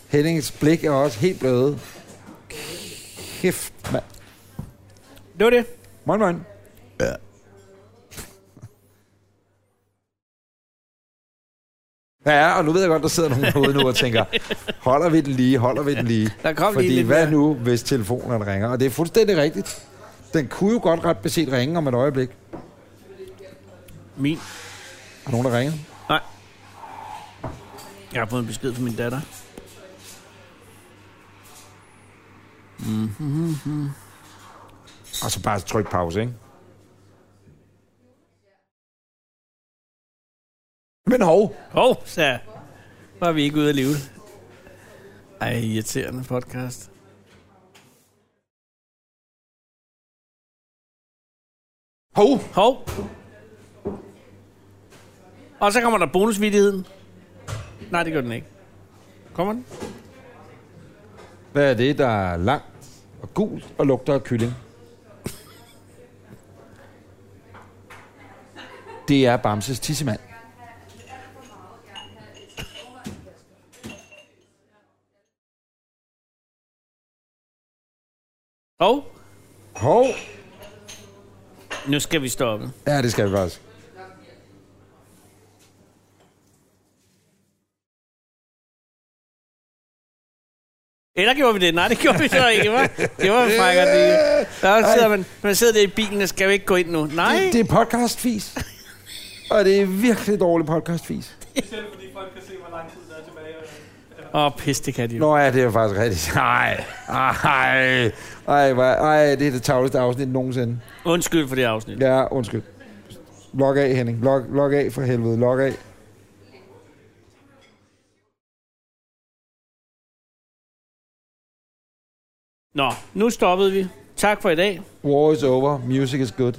Speaker 1: Hennings blik er også helt bløde. Kæft, mand.
Speaker 2: Det var det.
Speaker 1: Moin, moin. Ja. Ja, og nu ved jeg godt, der sidder nogen derude nu og tænker, holder vi den lige, holder vi den lige?
Speaker 2: Der kom lige
Speaker 1: Fordi
Speaker 2: lidt
Speaker 1: hvad
Speaker 2: mere.
Speaker 1: nu, hvis telefonen ringer? Og det er fuldstændig rigtigt. Den kunne jo godt ret beset ringe om et øjeblik. Er
Speaker 2: Min.
Speaker 1: der nogen, der ringer?
Speaker 2: Nej. Jeg har fået en besked fra min datter.
Speaker 1: Og så bare tryk pause, ikke? Men hov,
Speaker 2: Hov, oh, sagde jeg. Var vi ikke ude at leve. Ej, irriterende podcast.
Speaker 1: hov,
Speaker 2: Hov. Og så kommer der bonusvidigheden. Nej, det gør den ikke. Kommer den?
Speaker 1: hvad er det, der er langt og gult og lugter af kylling? Det er Bamses tissemand.
Speaker 2: Hov.
Speaker 1: Hov,
Speaker 2: Nu skal vi stoppe.
Speaker 1: ja, det skal vi faktisk.
Speaker 2: Eller gjorde vi det? Nej, det gjorde vi så ikke, hva'? Det var frækker, det. Der sidder man, man sidder der i bilen og skal jo ikke gå ind nu. Nej,
Speaker 1: Det, det er podcastfis. Og det er virkelig dårlig podcastfis.
Speaker 3: Selv fordi folk kan se, hvor lang tid der er tilbage.
Speaker 2: Åh, oh, pis, det kan de jo.
Speaker 1: Nå ja, det er faktisk rigtigt. Nej, ej, ej, hvor- ej, det er det tavleste afsnit nogensinde.
Speaker 2: Undskyld for det afsnit.
Speaker 1: Ja, undskyld. Log af, Henning. Log, log af for helvede. Log af.
Speaker 2: Nå, nu stoppede vi. Tak for i dag.
Speaker 1: War is over. Music is good.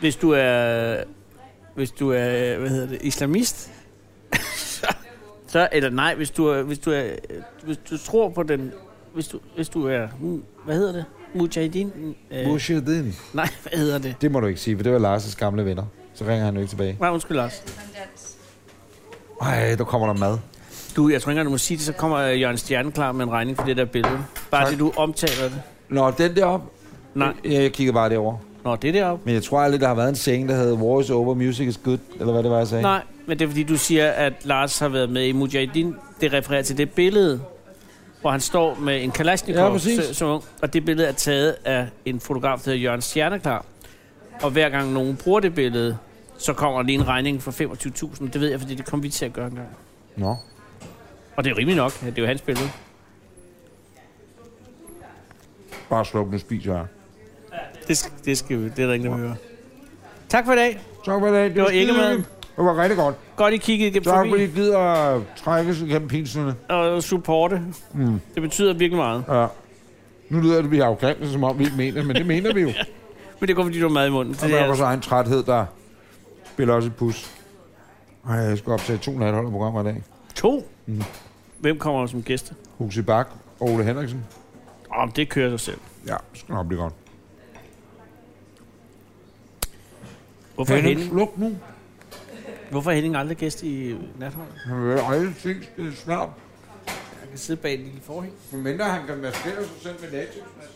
Speaker 2: Hvis du er... Hvis du er... Hvad hedder det? Islamist? så- så, eller nej, hvis du, er, hvis du er... Hvis du tror på den... Hvis du, hvis du er... mm, Hvad hedder det? Mujahideen? Øh,
Speaker 1: Mushadin.
Speaker 2: nej, hvad hedder det?
Speaker 1: Det må du ikke sige, for det var Lars' gamle venner. Så ringer han jo ikke tilbage.
Speaker 2: Nej, undskyld, Lars.
Speaker 1: Ej, der kommer der mad.
Speaker 2: Du, jeg tror ikke, engang, du må sige det, så kommer øh, Jørgen Stjerne klar med en regning for det der billede. Bare
Speaker 1: Tak.
Speaker 2: det, du omtaler det.
Speaker 1: Nå, den deroppe.
Speaker 2: Nej.
Speaker 1: Jeg, jeg kigger bare derover.
Speaker 2: Nå, det er deroppe.
Speaker 1: Men jeg tror aldrig, der har været en scene, der hedder War is over, music is good. Eller hvad det var, jeg sagde.
Speaker 2: Nej, men det er fordi, du siger, at Lars har været med i Mujahideen. Det refererer til det billede, hvor han står med en
Speaker 1: Ja,
Speaker 2: Kalashnikov
Speaker 1: præcis.
Speaker 2: så- som ung. Og det billede er taget af en fotograf, der hedder Jørgen Stjerneklar. Og hver gang nogen bruger det billede, så kommer der lige en regning for 25.000. Det ved jeg, fordi det kom vi til at gøre engang.
Speaker 1: Nå.
Speaker 2: Og det er rimeligt nok, at det er jo hans billede.
Speaker 1: Bare sluk, nu spiser jeg.
Speaker 2: Det, sk- det, skal vi, det er der ingen, der hører. Tak for i dag.
Speaker 1: Tak for i dag.
Speaker 2: Det var ikke med.
Speaker 1: Det var rigtig godt.
Speaker 2: Godt, I kiggede igennem
Speaker 1: Tak fordi
Speaker 2: forbi
Speaker 1: I gider at trække sig igennem pinserne.
Speaker 2: og supporte. Mm. Det betyder virkelig meget.
Speaker 1: Ja. Nu lyder det, at vi har afklaret, som om vi ikke mener, men det mener vi jo.
Speaker 2: Men det går, fordi du har mad i munden.
Speaker 1: Og
Speaker 2: Det
Speaker 1: der er
Speaker 2: er,
Speaker 1: vores egen træthed, der spiller også et pus. Ej, jeg skal optage to natholder programmer i dag.
Speaker 2: To? Mm. Hvem kommer som gæster?
Speaker 1: Huxi Bak og Ole Henriksen.
Speaker 2: Åh, oh, det kører sig selv.
Speaker 1: Ja, det skal nok blive godt.
Speaker 2: Hvorfor er
Speaker 1: Henning,
Speaker 2: Henning,
Speaker 1: sluk nu.
Speaker 2: hvorfor er Henning aldrig gæst i Natholdet?
Speaker 1: Han vil aldrig ses. Det er svært.
Speaker 9: han kan sidde bag en lille forhæng.
Speaker 1: Men mindre han kan maskere sig selv med latex.